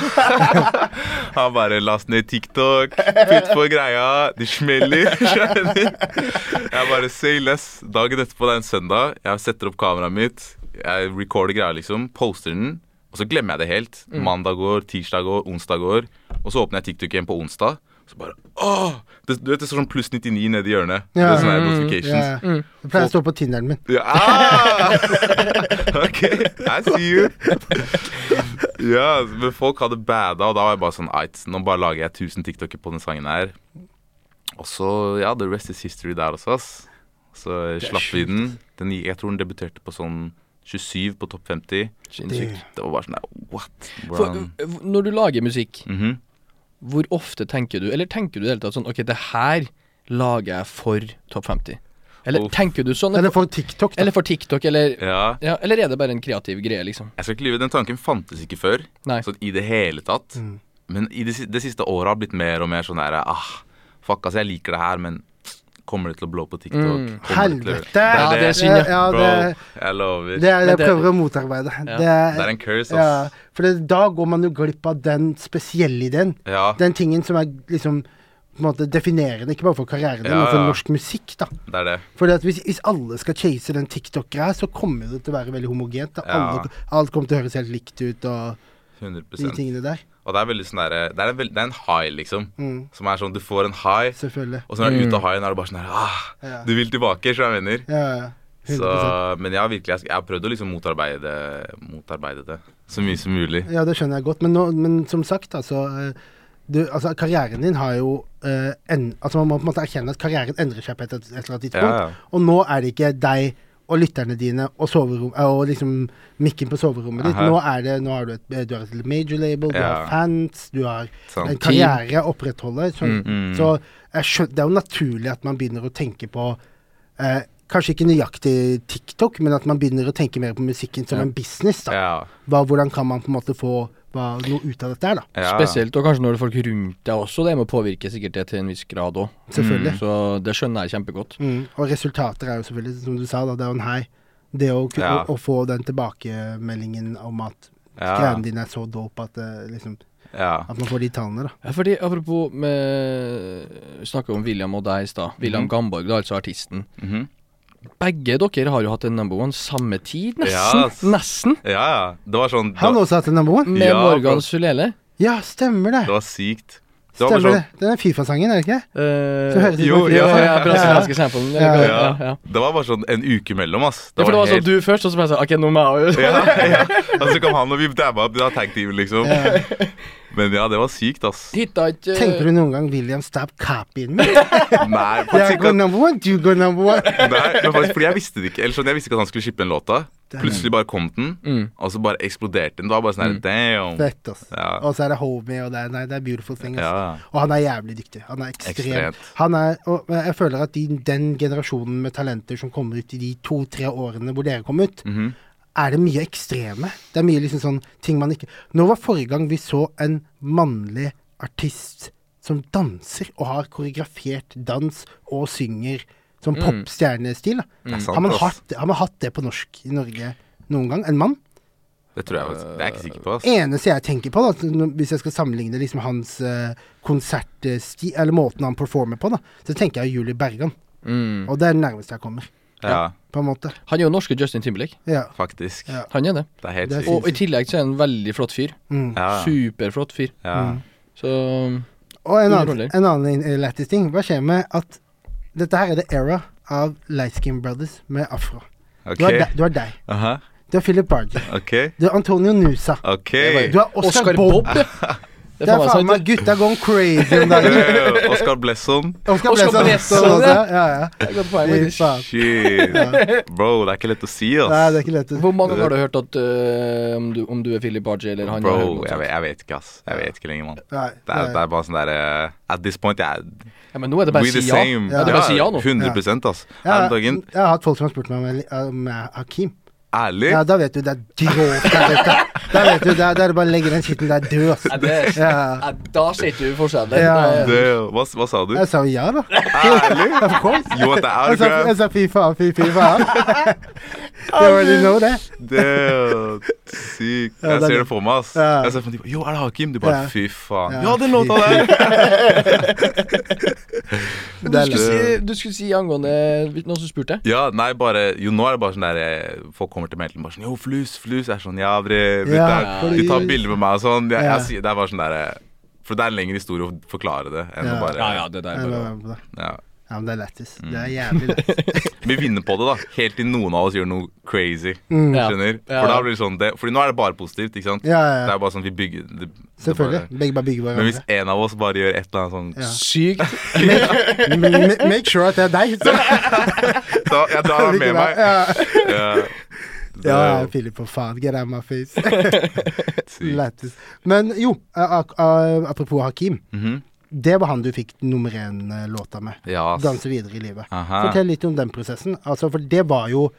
Han bare 'Last ned TikTok, putt på greia, det smeller'. Skjønner du? Jeg bare 'Say less'. Dagen etterpå, det er en søndag. Jeg setter opp kameraet mitt, jeg recorder greia, liksom, poster den, og så glemmer jeg det helt. Mm. Mandag går, tirsdag går, onsdag går, og så åpner jeg TikTok igjen på onsdag. Så bare åh! Det, du vet, det står sånn pluss 99 nede i hjørnet. Ja. Mm, Det er sånn. sånne her notifications. Ja. Det pleier å stå på Tinderen min. Ja. Ah! Ok, I see you. Ja, men folk hadde bada, og da var jeg bare sånn Ait, nå bare lager jeg 1000 TikToker på den sangen her. Og så, ja, the rest is history der også, ass. Så slapp vi den. den. gikk- Jeg tror den debuterte på sånn 27 på topp 50. Sinnssykt. Det var bare sånn der, What? For, Hvordan eh, når du lager musikk, Mhm. hvor ofte tenker du Eller tenker du i det hele tatt sånn OK, det her lager jeg for Topp 50. Eller Uff. tenker du sånn? Eller for TikTok, da. Eller for TikTok, eller Ja. ja, Eller er det bare en kreativ greie, liksom? Jeg skal ikke lyve, den tanken fantes ikke før. Nei. Sånn i det hele tatt. Mm. Men i det, si- det siste året har blitt mer og mer sånn der ah, Fuck, altså, jeg liker det her, men kommer det til å blå på TikTok? Kommer Mm. det til å- Helvete! Det Ja, det er er det, synd, ja. ja, bro. det, Jeg det lover. er det Men jeg det- prøver å motarbeide. Ja. Det, Det er en curse, ja, ass. for det, da går man jo glipp av den spesielle ideen. Ja. Den tingen som er liksom på en måte definerende, ikke bare for karrieren din, Ja, men for ja. norsk musikk. da det er det. Fordi at hvis, hvis alle skal chase den TikTok-greia, så kommer det til å være veldig homogent. Da. Ja. Alle, alt kommer til å høres helt likt ut, og 100 de tingene der. Og det er veldig sånn derre det, er en veld- det er en high, liksom. Mm, Som er sånn, du får en high, selvfølgelig. og så når du er ute av highen, er du bare sånn her ah, Ja. Du vil tilbake, skjønner jeg mener. Ja, ja. Så, 100%. men jeg har virkelig jeg, jeg har prøvd å liksom motarbeide, motarbeide det så mye som mulig. ja, det skjønner jeg godt. Men, nå, men som sagt, altså, eh, du, altså Karrieren din har jo eh, en, altså Man må på en måte erkjenne at karrieren endrer seg på et, et eller annet tidspunkt. Ja, ja. Og nå er det ikke deg og lytterne dine og, soverom, eh, og liksom mikken på soverommet ditt. Aha. Nå er det, nå har du, et, eh, du har et major label, du Ja. har fans, du har Sant. en karriere å opprettholde. Så, Mm, mm. så jeg skjøn- det er jo naturlig at man begynner å tenke på eh, Kanskje ikke nøyaktig TikTok, men at man begynner å tenke mer på musikken som Ja. en business. da. Ja, Hva, hvordan kan man på en måte få hva, noe ut av dette her, da? ja. Spesielt, og kanskje når det er folk rundt deg også. Det må påvirke sikkert det til en viss grad òg. Selvfølgelig. Så det skjønner jeg kjempegodt. Mm. Og resultater er jo selvfølgelig, som du sa, da, det er jo en hei. Det å, ku- Ja. å, å få den tilbakemeldingen om at Ja. greiene dine er så dope at, det liksom, Ja. at man får de tallene, da. Ja, fordi Apropos med Vi snakka om William og deg i stad. William Gamborg, da, altså artisten. Mhm. Begge dere har jo hatt en number one samme tid, nesten. Ja, ass. Nesten. ja, ja. Det var sånn det Han var, også hatt en number one. Med Ja, Morgan bro. Sulele. Ja, stemmer det. det var sykt. Det var bare Stemmer det. sånn Den er Fifa-sangen, er det ikke? Eh, Så høres det ut jo, som- ja, ja, ja, brasilianske samplen. Ja, Ja, ja, ja. ja. Det var bare sånn en uke imellom, ass. Ja, for det var sånn helt- du først, og så bare sånn OK, nå må jeg jo ja, ja. Altså, Og så kom han og vi dabba opp, da tag team, liksom. Ja. Men ja, det var sykt, ass. Hitta ikke Tenker du noen gang William stabbed copyen min? Nei, på Jeg går TikTok, nei, number one, du går number one. men faktisk, fordi jeg visste det ikke. Eller sånn, Jeg visste ikke at han skulle shippe den låta. Plutselig bare kom den, Mm. og så bare eksploderte den. Det var bare sånn her, damn. Fett, ass. Ja. Og så er det homie, og det er, nei, det er beautiful thing. Ass. Ja. Og han er jævlig dyktig. Han er ekstrem. Ekstremt. Han er, og jeg føler at de, den generasjonen med talenter som kommer ut i de to-tre årene hvor dere kom ut, Mhm. er det mye ekstreme. Det er mye liksom sånn ting man ikke Nå var forrige gang vi så en mannlig artist som danser og har koreografert dans og synger som popstjernestil. da. Mm. Det er sant, Har, man ass. hatt, har man hatt det på norsk i Norge noen gang? En mann? Det tror jeg faktisk. Det er jeg ikke sikker på, ass. eneste jeg tenker på, da, at når- hvis jeg skal sammenligne liksom hans eh, konsertsti, eller måten han performer på, da, så tenker jeg Julie Bergan. Mm. Og det er det nærmeste jeg kommer, Ja, på en måte. Han er jo norske Justin Timberlake. Ja. faktisk. Ja. Han er det. Det er helt Det er sykt. Og i tillegg så er han en veldig flott fyr. Mm. Ja, Superflott fyr. ja. Så um, Og en Ingen annen, roller. en annen eh, lættis ting. Hva skjer med at dette her er the era av Light Skin Brothers med afro. OK. Du har de- du har deg. Aha. Du har Philip Barger. OK. Du har Antonio Nusa. OK. Du har Oscar, Bob. ja. Det Det er faen meg sant. gutta going crazy om dagen. Damn, Eh, Oscar Blesson. Oscar Oscar Blesson. Blesson, også, ja. Ja, ja. Det er godt poeng, Fy faktisk. faen. Shit. Bro, det er ikke lett å si, ass. Nei, det er ikke lett. Hvor mange ganger har du hørt at øh, om, du, om du er Philip Barge eller han er Bro, Helmut, jeg, sant? vet- jeg vet ikke, ass. Jeg vet ikke lenger, mann. Nei, Det er, nei. det er bare sånn derre At this point, jeg er ja, Men nå er det bare we å the si ja. same. Ja, det er bare å si ja nå. 100 ass. Ja, Her om dagen, jeg har hatt folk som har spurt meg om jeg li- om jeg er Hakim. ærlig Ja, da vet du det er gråt der ute. Da vet du, da da er det bare å legge den skitten der død, Ja, altså. det, Ja. ja, da ser ikke du forskjellen. Ja. Da- det, hva, hva sa du? Jeg sa jo ja, da. Ærlig? Of course. You want the Jeg sa, jeg autograph? sa fy faen, fy fy faen. You already know det. Damn, sykt. Ja, Jeg det er ser det. det for meg, ass. Ja. Jeg ser for meg, Yo, er det Hakim? Du Ja. bare fy faen. Ja, Ja, den fy låta der! Men Du, skulle si, Det- du skulle si angående noen som spurte. Ja, nei, bare Jo, nå er det bare sånn der eh, Folk kommer til mailen bare sånn Yo, flus, flus. Jeg er sånn Ja, bre, Ja, De tar fordi- bilder med meg og sånn. Jeg, Ja. jeg, sier- det er bare sånn der eh, For det er en lengre historie å forklare det enn Ja. å bare Mm. det Jeg lover meg på det. ja. Ja, men det er lættis. Det er jævlig lættis. Vi vinner på det, da. Helt til noen av oss gjør noe crazy. Mm. Ja. Skjønner? Ja. For da blir det sånn det, Fordi nå er det bare positivt, ikke sant? Ja, ja, Det ja. er bare sånn vi bygger det, det Selvfølgelig. Bare, Begge bare bygger men hvis hverandre. en av oss bare gjør et eller annet sånn Ja. Sykt. M- m- Make sure at det er deg. Så. da, Ja, da er han med meg. Ja. Ja. Det Ja, er ja, jo Philip, for faen. Get out my face. sykt. Lættis. Men jo, a- a- a- apropos Hakim. Mhm. Det var han du fikk nummer én-låta med. Ja, ass. Danse videre i livet. Aha. Fortell litt om den prosessen. Altså, for det var jo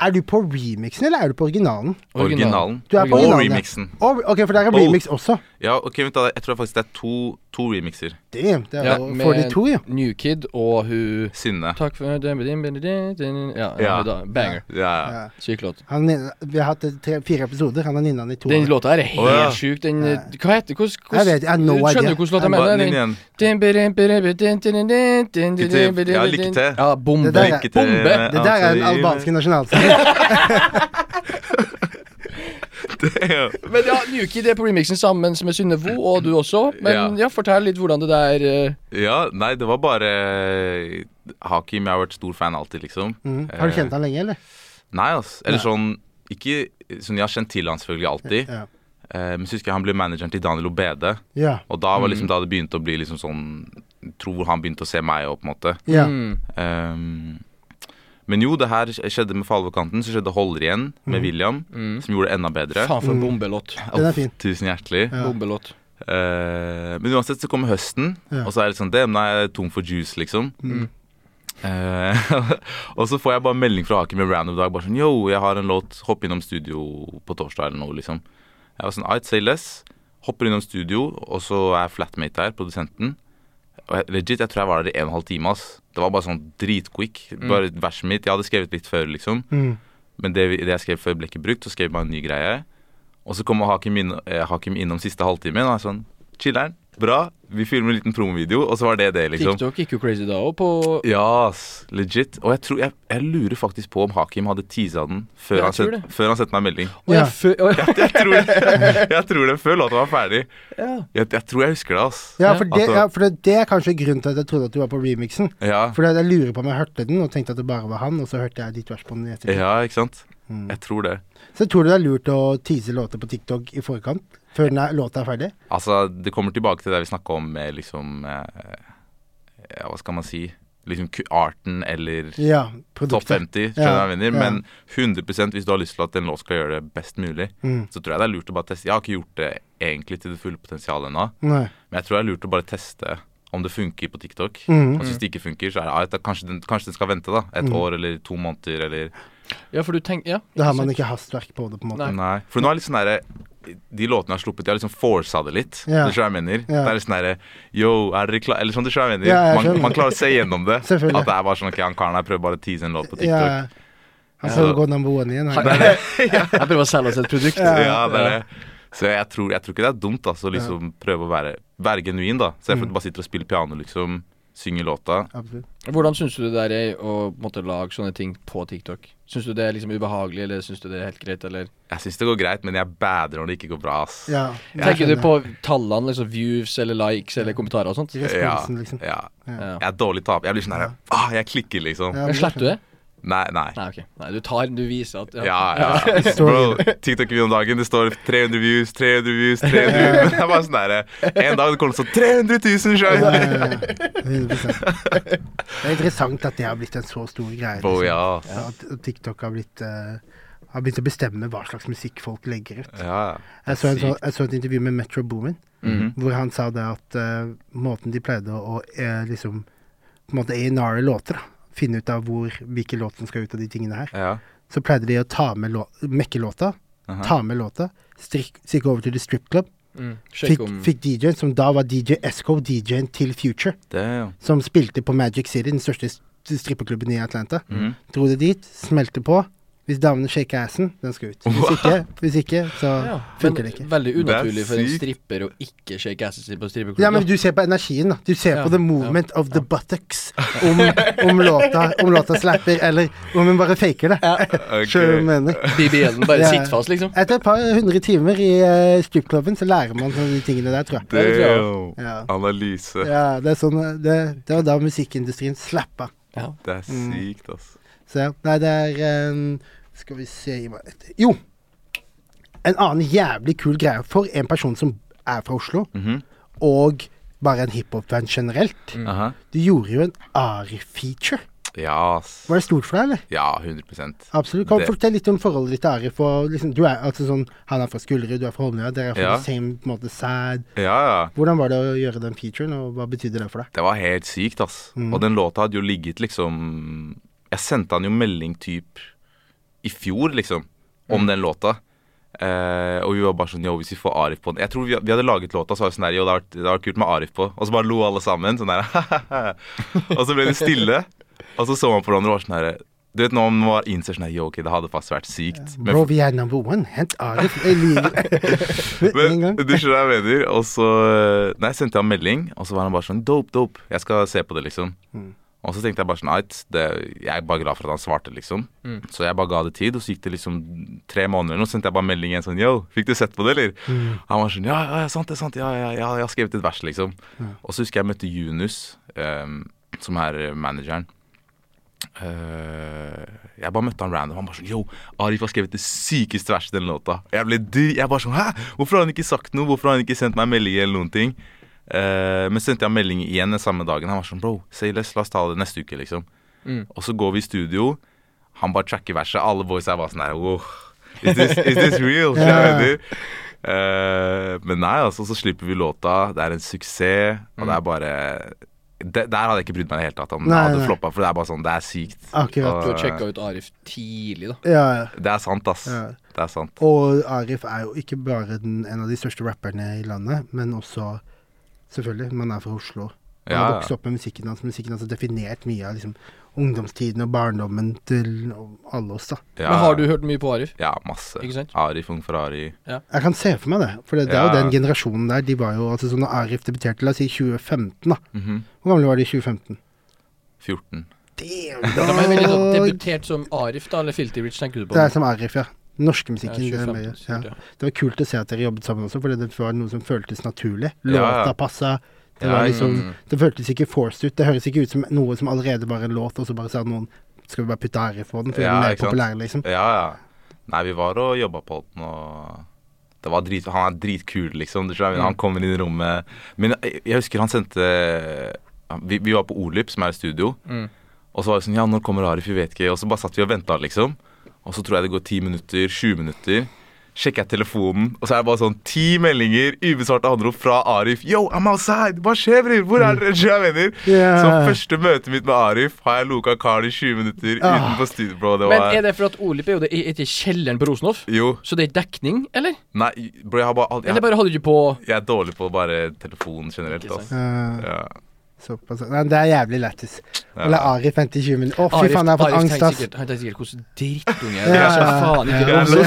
Er du på remixen, eller er du på originalen? Originalen. Du er på Og originalen, ja. remixen. Og, ok, for der er Oh. remix også. Ja, ok, vent da. Jeg tror faktisk det er to, to remixer. Damn, det er Ja, jo med 42, ja. New Kid og hun Synne. Takk for Ja, ja. Ja. hun da. Banger. Ja. ja. Syk låt. Han, er- vi har hatt tre, fire episoder. Han har nynna den i to. Den låta her er helt Å, ja. sjuk. Den Hva heter hvordan, Jeg vet, jeg har no idea. Skjønner du hvordan Hva låta er mener? den Den- igjen? Ja, Ja, lykke til. Ja, bombe. Det der er- Lykke til bombe. med Det der er den alt du- albanske nasjonalsangen. Det er jo- Men ja, Nuki det er på remixen sammen med Synnevo, og du også. Men ja, Ja. fortell litt hvordan det der eh, Ja, nei, det var bare Hakim, jeg har vært stor fan alltid, liksom. Mm. Har du kjent han lenge, eller? Nei, ass. Eller sånn Ikke sånn Jeg har kjent til han selvfølgelig alltid. Ja. Eh, men så husker jeg han ble manageren til Daniel Obede. Ja. Og da var liksom Mhm. da det begynte å bli liksom sånn jeg Tror han begynte å se meg òg, på en måte. ja. mm, Ehm, men jo, det her skjedde med Falvokanten. Så skjedde Holder igjen med William, Mm. som gjorde det enda bedre. Faen for en bombelåt. Mhm. Den er fin. Tusen hjertelig. Mm. Ja. Bombelåt. Eh, men uansett så kommer høsten, Ja. og så er det sånn Damn, nei, jeg er tom for juice, liksom. Mm. Eh, og så får jeg bare melding fra Hakim en random dag. Bare sånn Yo, jeg har en låt. Hopp innom studio på torsdag eller noe, liksom. Jeg var sånn I'd say less. Hopper innom studio, og så er flatmate der, produsenten. Og jeg, legit, jeg tror jeg var der i en og en halv time, ass. Det var bare sånn dritquick. Bare verset mitt. Jeg hadde skrevet litt før, liksom. Mm. Men det, vi- det jeg skrev før ble ikke brukt, så skrev jeg bare en ny greie. Og så kommer Hakim, inn, eh, Hakim innom siste halvtimen og er sånn Chiller'n, bra, vi filmer en liten promovideo, og så var det det, liksom. TikTok gikk jo crazy da òg, på Ja, ass, legit. Og jeg, tror, jeg, jeg lurer faktisk på om Hakim hadde teasa den før, Jeg han, tror sendte- det. før han sendte meg melding. Å, Ja. jeg fø- å, ja. Jeg tror det, jeg tror det før låta var ferdig. Ja. Jeg, jeg tror jeg husker det, ass. Ja, for det, Altså- ja, for det, det er kanskje grunnen til at jeg trodde at du var på remixen. Ja, For jeg lurer på om jeg hørte den og tenkte at det bare var han, og så hørte jeg ditt vers på den i ettertid. ja ikke sant? Mm. Jeg tror det. Så tror du det er lurt å tease låter på TikTok i forkant? Før den er, låta er ferdig? Altså, det kommer tilbake til det vi snakka om med liksom eh, Ja, hva skal man si? Liksom ku- arten eller Ja. topp Produktet. 50, skjønner du Ja, hva jeg mener? ja. Men 100 hvis du har lyst til at en låt skal gjøre det best mulig, Mm. så tror jeg det er lurt å bare teste. Jeg har ikke gjort det egentlig til det fulle potensialet ennå, Nei. men jeg tror det er lurt å bare teste om det funker på TikTok. Mm. Og hvis det ikke funker, så er det ah, da kanskje, den, kanskje den skal vente da et år eller to måneder eller ja, for du tenker Ja. Da har man ikke hastverk på det, på en måte. Nei. Nei. For nå er det litt sånn derre De låtene jeg har sluppet, de har liksom forsa det litt. Ja. Det skjønner jeg mener. Ja. Det er litt sånn derre Yo, er dere klare? Eller sånn, det skjønner jeg mener. Ja, jeg skjønner. man, man klarer å se gjennom det. At Selvfølgelig. det er bare sånn Ok, han karen her prøver bare å tease en låt på Ja. TikTok. Han skal Ja. gå number one igjen. han. Jeg prøver å selge oss et produkt. Ja, det er det. Så jeg tror, jeg tror ikke det er dumt, altså, å liksom prøve å være, være genuin, da. Så jeg Mm. bare sitter og spiller piano, liksom. Synger låta. Absolutt. Hvordan syns du det der er å på en måte, lage sånne ting på TikTok? Syns du det er liksom ubehagelig, eller syns du det er helt greit, eller Jeg syns det går greit, men jeg bader når det ikke går bra, ass. Ja. Tenker du skjønner. på tallene, liksom views eller likes eller kommentarer og sånt? Responsen, liksom. ja. Ja. Jeg er dårlig taper. Jeg blir sånn her ah, Jeg klikker, liksom. Ja, Men slipper du det? Nei, nei. Nei, ok. Nei, du tar den, du viser at Ja, ja. ja. Bro, TikTok-video om dagen, det står 300 views, 300 views, 300 views. Det er bare sånn derre En dag det kommer det sånn 300 000 Ja, sjøl! ja, ja. 100%. Det er interessant at det har blitt en så stor greie. Bro, liksom. ja. ass. Ja. At at TikTok har blitt eh, har begynt å bestemme hva slags musikk folk legger ut. Ja, ja. Jeg så, en, så, jeg så et intervju med Metro Boomin, hvor han sa det at eh, måten de pleide å eh, liksom På en måte A&R låter, da. Finne ut av hvor, hvilke låter som skal ut av de tingene her. Ja. Så pleide de å ta med lå mekke-låta, Aha. ta med låta, strikk- stikke over til The Strip Club. Mm. Sjekk Fikk, om fikk DJ-en, som da var DJ Esco, DJ-en til Future, Det, ja. som spilte på Magic City, den største s- strippeklubben i Atlanta. Mhm. Dro det dit, smelte på. Hvis damene shaker assen, den skal ut. Hvis ikke, hvis ikke så ja. funker men det ikke. Veldig unaturlig Det er for en sykt. stripper å ikke shake assen sin på strippeklubben. Ja, men du ser på energien, da. Du ser Ja, på the movement of the buttocks. Om, om, låta, om låta slapper, eller om hun bare faker det. Ok. Skjønner du hva jeg mener. BBL-en bare Ja. sitter fast, liksom. Etter et par hundre timer i uh, stripklubben, så lærer man sånne de tingene der, tror jeg. Ja, det tror jeg Damn. Ja. Analyse. ja, det er sånn eh, Det, det var da musikkindustrien slappa. Ja. Det er sykt, ass. Så ja. Nei, det er eh, Skal vi se gi meg et- Jo! En annen jævlig kul greie for en person som er fra Oslo, Mhm. Mm. og bare en hiphop-fan generelt. Aha. Du gjorde jo en Ari-feature. Ja, ass. Var det stort for deg, eller? ja 100 Absolutt. Kan du Det- fortelle litt om forholdet ditt til Ari? For liksom, du er, altså, sånn, han er fra Skullerud, du er fra Holmlia, dere er fra Ja. the same på en måte, sad. Ja, ja. Hvordan var det å gjøre den featuren, og hva betydde det for deg? Det var helt sykt, ass. Og den låta hadde jo ligget liksom Jeg sendte han jo melding typ i fjor, liksom, om den låta. Eh, og vi var bare sånn Yo, hvis vi får Arif på den Jeg tror vi, vi hadde laget låta, så var det sånn der Yo, det hadde vært- det hadde vært kult med Arif på. Og så bare lo alle sammen. Sånn der Og så ble det stille. Og så så man på hverandre og var sånn her Du vet når man var innser sånn her Yo, ok, det hadde faktisk vært sykt. Men Bro, vi er number one. Hent Arif. Jeg liker- Med en men, gang. du skjønner hva jeg mener. Og så eh, Nei, jeg sendte han melding, og så var han bare sånn Dope, dope. Jeg skal se på det, liksom. Mm. Og så tenkte jeg bare sånn Ait, det, jeg er bare glad for at han svarte, liksom. Så jeg bare ga det tid, og så gikk det liksom tre måneder eller noe, så sendte jeg bare melding igjen sånn Yo, fikk du sett på det, eller? Mm. Han var sånn Ja, ja, ja, sant det, sant det. Ja, ja, ja, jeg har skrevet et vers, liksom. Og så husker jeg jeg møtte Junus, ehm, som er manageren. Eh, jeg bare møtte han random. Han bare sånn Yo, Arif har skrevet det sykeste verset i den låta. Jeg ble dyr. Jeg bare sånn Hæ? Hvorfor har han ikke sagt noe? Hvorfor har han ikke sendt meg melding eller noen ting? Eh, men så sendte jeg melding igjen den samme dagen. Han var sånn Bro, say less, la oss ta det neste uke, liksom. Mm. Og så går vi i studio. Han bare tracker verset. Alle boysa er bare sånn her Wow. Is this, is this real? Skjønner du hva jeg mener? Eh, men nei, altså, så slipper vi låta. Det er en suksess, og det er bare det, Der hadde jeg ikke brydd meg i det hele tatt om det Nei, hadde nei. floppa, for det er bare sånn, det er sykt. Akkurat. For å sjekke ut Arif tidlig, da. Ja, ja. Det er sant, ass. Ja. Det er sant. Og Arif er jo ikke bare den, en av de største rapperne i landet, men også Selvfølgelig, man er fra Oslo. Man har Ja, ja. vokst opp med musikken hans. Musikken hans har definert mye av liksom, ungdomstiden og barndommen til alle oss, da. Ja, Men har du hørt mye på Arif? Ja, masse. Ikke sant? Arif, Ung Ferrari. Jeg kan se for meg det, for det, det er jo Ja. den generasjonen der. De var jo, altså sånn Når Arif debuterte, la oss si 2015, da. Mhm. Hvor gamle var de i 2015? 14. Damn, De er veldig sånn dog! debutert som Arif, da, eller Filty Rich, tenker du på? Det er som Arif, ja. Den Norske Ja, musikken. det, er 25, mer, sikkert, ja. ja. det var kult å se at dere jobbet sammen også, fordi det var noe som føltes naturlig. Ja, ja. Låta passa. Det, Ja, var ja. liksom, det føltes ikke forced ut. Det høres ikke ut som noe som allerede var en låt, og så bare sa noen Skal vi bare putte Arif på den, for Ja, den er mer ikke sant. populær, liksom. Ja, ja. Nei, vi var og jobba på den, og det var drit, Han er dritkul, liksom. Du skjønner, Mm. Han kommer inn i rommet Men jeg, jeg husker han sendte Vi, vi var på Olyp, som er et studio. Mm. Og så var det sånn Ja, når kommer Arif? Vi vet ikke. Og så bare satt vi og venta, liksom. Og så tror jeg det går ti minutter, 20 minutter. Sjekker jeg telefonen, og så er det bare sånn ti meldinger, ubesvarte anrop fra Arif. Yo, I'm outside! Hva skjer, bror? Hvor er dere? Skjønner du hva jeg mener? Ja. Så første møtet mitt med Arif har jeg loka Carl i 20 minutter Ah. utenfor studio, bro. Det Men var er det for at Olip er jo det, er ikke kjelleren på Rosenhoff? Jo. Så det er dekning, eller? Nei, bro, jeg har bare aldri Eller bare hadde du ikke på Jeg er dårlig på bare telefon generelt, Ikke altså. Eh, Ja. såpass. Nei, det er jævlig lættis. Å la Arif vente i 20 minutter. Å, fy Arif, faen, jeg har fått Arif angst, tenkte ass. sikkert, han tenkte sikkert hvordan drittunge Ja, Det er så ja, ja. faen Ja, ikke lov.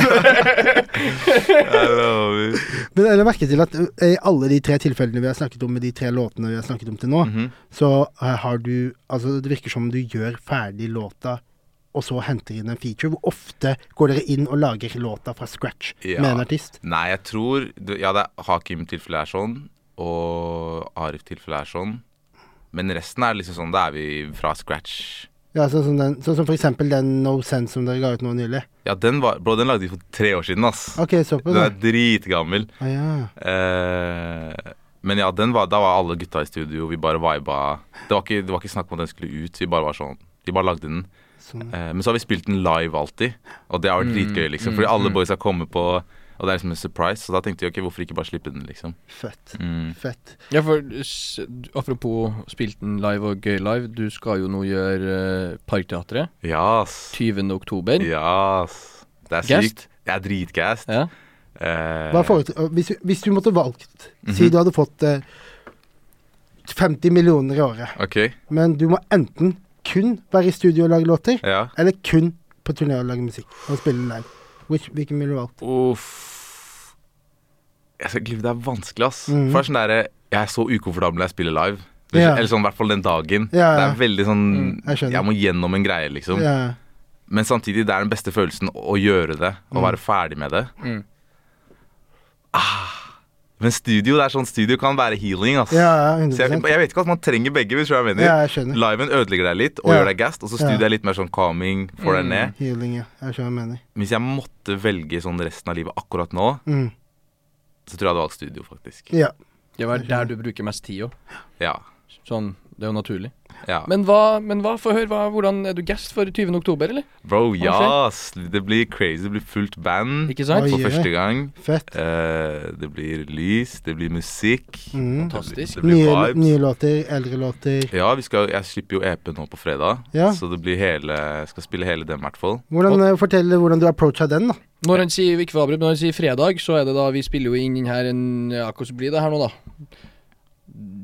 Jeg lover. Men jeg la merke til at ø, i alle de tre tilfellene vi har snakket om med de tre låtene vi har snakket om til nå, Mhm. så ø, har du Altså, det virker som om du gjør ferdig låta, og så henter inn en feature. Hvor ofte går dere inn og lager låta fra scratch Ja. med en artist? Nei, jeg tror du- Ja, det er Hakim-tilfellet er sånn, og Arif-tilfellet er sånn. Men resten er liksom sånn, da er vi fra scratch. Ja, sånn som, den, sånn som for eksempel den No Sense som dere ga ut nå nylig. Ja, den var Bro, den lagde vi for tre år siden, ass. OK, såpass. Den da. er dritgammel. Å ja. Eh, men ja, den var, da var alle gutta i studio, vi bare viba. Det var ikke, det var ikke snakk om at den skulle ut, vi bare var sånn Vi bare lagde den. Sånn. Eh, Men så har vi spilt den live alltid, og det har vært dritgøy, liksom. Fordi alle boys har kommet på, og det er liksom en surprise. Så da tenkte jeg ok, hvorfor ikke bare slippe den, liksom. Fett. Mm. Fett. Ja, for s- apropos spilt den live og gøy live, du skal jo nå gjøre eh, Parkteatret Yes. 20. oktober. Yes. Det er Gassed? sykt. Jeg er dritgassed. Ja. Eh, Mhm. Hva foretre- ø, hvis, du- hvis du måtte valgt Si du hadde fått ø, 50 millioner i året, OK. men du må enten kun være i studio og lage låter, Ja. Eller kun på turné og lage musikk og spille live. Which, hvilken ville du valgt? Uff. Jeg skal glemme, det er vanskelig, ass. Mhm. For det er sånn derre Jeg er så ukomfortabel når jeg spiller live. Ja. Eller sånn i hvert fall den dagen. Ja, Det ja. er veldig sånn Mm, jeg skjønner. Jeg må gjennom en greie, liksom. Ja. Men samtidig, det er den beste følelsen å gjøre det, å være ferdig med det. Mm. Ah, men studio det er sånn studio kan være healing, ass. ja, ja, Så jeg, 100 jeg vet ikke at man trenger begge, hvis du skjønner hva jeg Ja, mener. jeg skjønner. Liven ødelegger deg litt og Ja. gjør deg gassed, og så studio Ja. Mm. er litt mer sånn calming, får deg ned. Healing, ja. Jeg skjønner hva du mener. Hvis jeg måtte velge sånn resten av livet akkurat nå, Mm. så tror jeg jeg hadde valgt studio, faktisk. Ja. Det var der du bruker mest tid òg. Ja. Sånn Det er jo naturlig. Ja. Men hva, men hva få høre, hva, hvordan er du guest for 20. oktober, eller? Bro, skjer? ja! ass. Det blir crazy. Det blir fullt band Ikke sant? Oi. for Oi, oi. første gang. Fett. Eh, det blir lys, det blir musikk. Mm. Fantastisk. Det blir, det Nye, blir Eh, vibes. nye låter, eldre låter. Ja, vi skal, jeg slipper jo EP nå på fredag, Ja. så det blir hele, skal spille hele den i hvert fall. Hvordan, eh, fortell hvordan du approacha den, da. Når han sier ikke for å avbryte, men når han sier fredag, så er det da vi spiller jo inn den her en Ja, hvordan blir det her nå, da?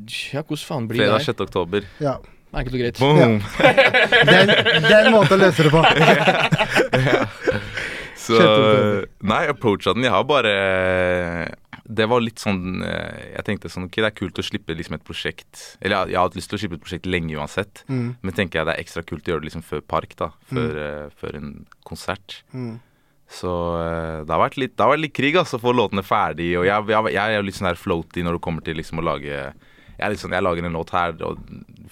Ja, hvordan faen blir Fredag det her? 6. oktober. Ja. Enkelt og greit. Boom! Den, den måten å løse det på. Så Kjempegodt. Nei, approacha den. Jeg har bare Det var litt sånn eh, Jeg tenkte sånn Ok, det er kult å slippe liksom et prosjekt Eller jeg, jeg har hatt lyst til å slippe et prosjekt lenge uansett. Mm. Men tenker jeg det er ekstra kult å gjøre det liksom før park, da. Før, eh, før en konsert. Mm. Så eh, det har vært litt, det har vært litt krig, altså, å få låtene ferdig. Og jeg, jeg, jeg er litt sånn her floaty når det kommer til liksom å lage Jeg er litt sånn, jeg lager en låt her og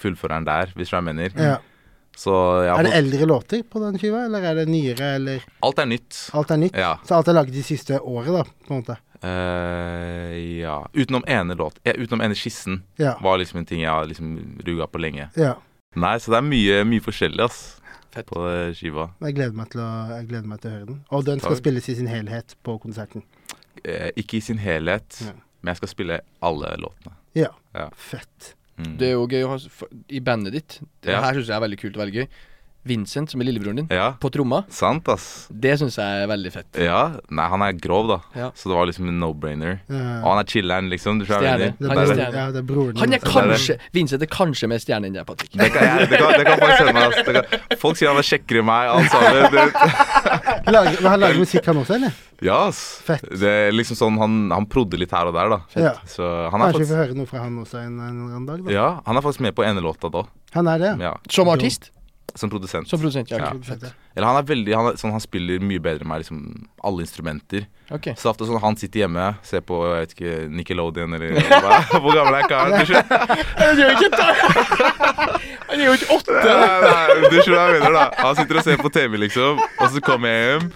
fullfører den der, hvis du hva jeg mener. Ja. Så jeg har Er det fått, eldre låter på den skiva, eller er det nyere, eller alt er nytt. Alt er nytt. Ja. Så alt er laget de siste året, da, på en måte. Eh, ja. Utenom ene låt eh, Utenom ene skissen Ja. var liksom en ting jeg har liksom ruga på lenge. ja. Nei, så det er mye, mye forskjellig, ass. Fett. På eh, skiva. Jeg gleder meg til å, jeg gleder meg til å høre den. Og den skal Takk. spilles i sin helhet på konserten. Eh, ikke i sin helhet, Ja. men jeg skal spille alle låtene. Ja. Ja. Fett. Mm. Det er jo gøy å ha s- for- i bandet ditt. Det Ja. her syns jeg er veldig kult og veldig gøy. Vincent, som er lillebroren din, Ja, på tromma. sant, ass. Det syns jeg er veldig fett. Ja. Nei, han er grov, da. Ja. Så det var liksom en no-brainer. Ja. Og han er chiller'n, liksom. Du skjønner hva jeg Stjerne. Eh, Det mener? er Han broren, ja, det er stjerne. er broren Han er min. kanskje Vincent er kanskje mer stjerne enn deg, Patrick. Det kan, jeg, det, kan, det kan folk sende meg. ass. Det kan, folk sier han er kjekkere enn meg. Alt sammen. Det, Lager, men han lager musikk, han også, eller? ja, ass. Fett. Det er liksom sånn Han, han prodde litt her og der, da. Ja. Så han er Kanskje vi faktisk får høre noe fra han også en, en eller annen dag, da. Ja, han er faktisk med på ene låta da. Han er det, ja. Ja, Som artist? som produsent. Som produsent, ja. Ja. kult, Fett. Eller han er veldig han, er, sånn, han spiller mye bedre enn meg, liksom alle instrumenter. Ok. Så det er ofte sånn han sitter hjemme, ser på jeg vet ikke, Nickelodeon eller hva, Hvor gammel er karen? Du skjønner, Han er jo ikke Han er jo ikke åtte! Nei, nei, du skjønner hva jeg mener, da. Han sitter og ser på TV, liksom, og så kommer jeg hjem.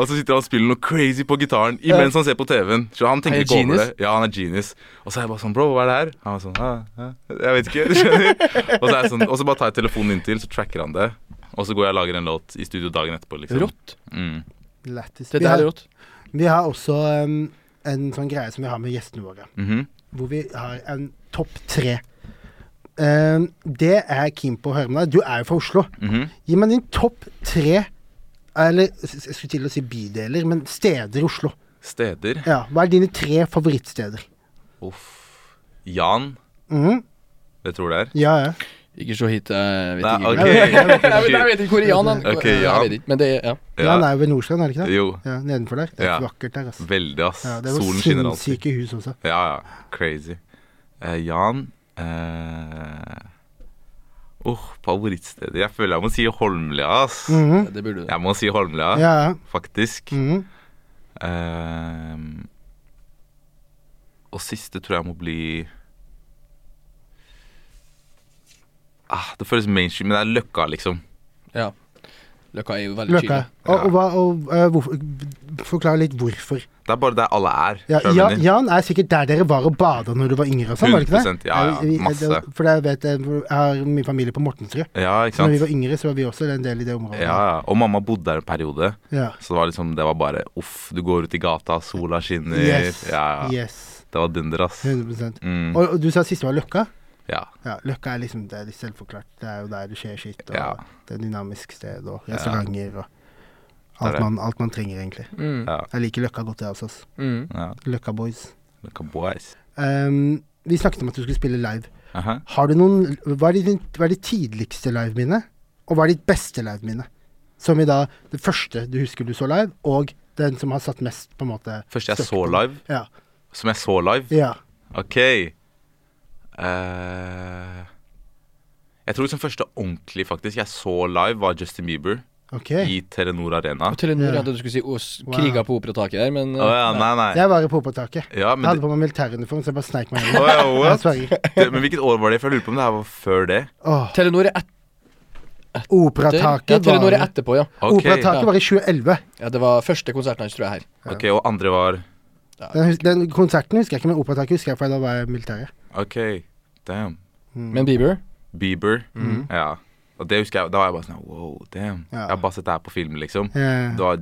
Og så sitter han og spiller noe crazy på gitaren imens han ser på TV-en. Så han tenker Han er ikke over det. genius. Ja, han er genius. Og så er jeg bare sånn Bro, hva er det her? Han var sånn ah, ah, Jeg vet ikke. Du skjønner? Og så, er jeg sånn, og så bare tar jeg telefonen inntil, så tracker han det. Og så går jeg og lager en låt i studio dagen etterpå, liksom. Rått. Mm. Lættis. Det Vi, der er har- rått. vi har også em, en sånn greie som vi har med gjestene våre, Mhm. hvor vi har en topp tre. Em, det er jeg keen på å høre med deg. Du er jo fra Oslo. mhm. Gi meg din topp tre Eller s- jeg skulle til å si bydeler, men steder i Oslo. Steder. Ja, Hva er dine tre favorittsteder? Uff. Jan. Mhm, Vet du hvor det er? ja, ja. Ikke se hit, jeg vet Nei, ikke. ok. Jeg vet ikke, jeg vet ikke. Jeg vet, jeg vet ikke hvor Jan han Ok, Jeg Jan. vet ikke, Men det er ja. Ja, han er jo ved Nordstrand, er det ikke det? Jo. Ja, Nedenfor der. Det er Ja. vakkert der, altså. Veldig, ass. Ja, det er jo Solen skinner alltid. sinnssyke hus også. Ja, ja. Crazy. Eh, Jan eh... oh, Favorittstedet Jeg føler jeg må si Holmlia, ass. Mhm, Det burde du. Jeg må si Holmlia, Ja, ja. faktisk. Mhm. Eh, og siste tror jeg må bli ah, Det føles mainstream, men det er Løkka, liksom. Ja. Løkka er jo veldig Løkka. chill. Og, og, Ja. hva- og, eh, hvorfor, forklar litt hvorfor. Det er bare der alle er. Ja, skjønner du hva ja, jeg mener? Jan er sikkert der dere var og bada når du var yngre og sånn, var det ikke det? 100%, ja, ja, Jeg- jeg- masse. det- For jeg vet, jeg jeg har mye familie på Mortensrud. ja ikke Så når vi sant? var yngre, så var vi også en del i det området. Ja, ja. Og mamma bodde der en periode. Ja. Så det var liksom, det var bare uff, du går ut i gata, sola skinner. Yes. Ja, ja. Yes. Det var dunder, ass. 100 Mm, og, og du sa siste var Løkka? ja. Ja, Løkka er liksom det er litt selvforklart. Det er jo der det skjer skitt, og Ja. det er et dynamisk sted, og restauranter og Det alt er det. man, alt man trenger, egentlig. Mm. ja. Jeg liker Løkka godt, jeg også. ass. Mm. ja. Løkka Boys. Like a boys. Ehm, vi snakket om at du skulle spille live. Aha. Har du noen Hva er ditt, hva er ditt tidligste liveminne? Og hva er ditt beste liveminne? Som i da det første du husker du så live, og den som har satt mest, på en måte Første jeg støkk så på. live, Ja. som jeg så live ja. OK. Eh, jeg tror liksom første ordentlig faktisk jeg så live, var Justin Bieber Ok. i Telenor Arena. Og Telenor Ja. hadde du skulle si os, Wow. kriga på operataket der, men eh, Å ja, nei, nei. Jeg var på opptaket. Ja, Jeg hadde men, på meg militæruniform, så jeg bare sneik meg det, gjennom. Å ja, Jeg what? sverger. Det, men hvilket år var det? For jeg lurer på om det her var før det. Åh, Telenor er etter. Ja, Operataket Telenor var er etterpå, ja. Ok, Operataket var i 2011. ja. Det var første konserten hans, tror jeg, her. ok, Og andre var Den, hus- den konserten husker jeg ikke, men operataket husker jeg, for da var jeg i militæret. OK. Damn. Men Bieber Bieber. Ja. Og det husker jeg, da var jeg bare sånn Wow, damn. Ja. Jeg har bare sett det her på film, liksom. Ja. Det var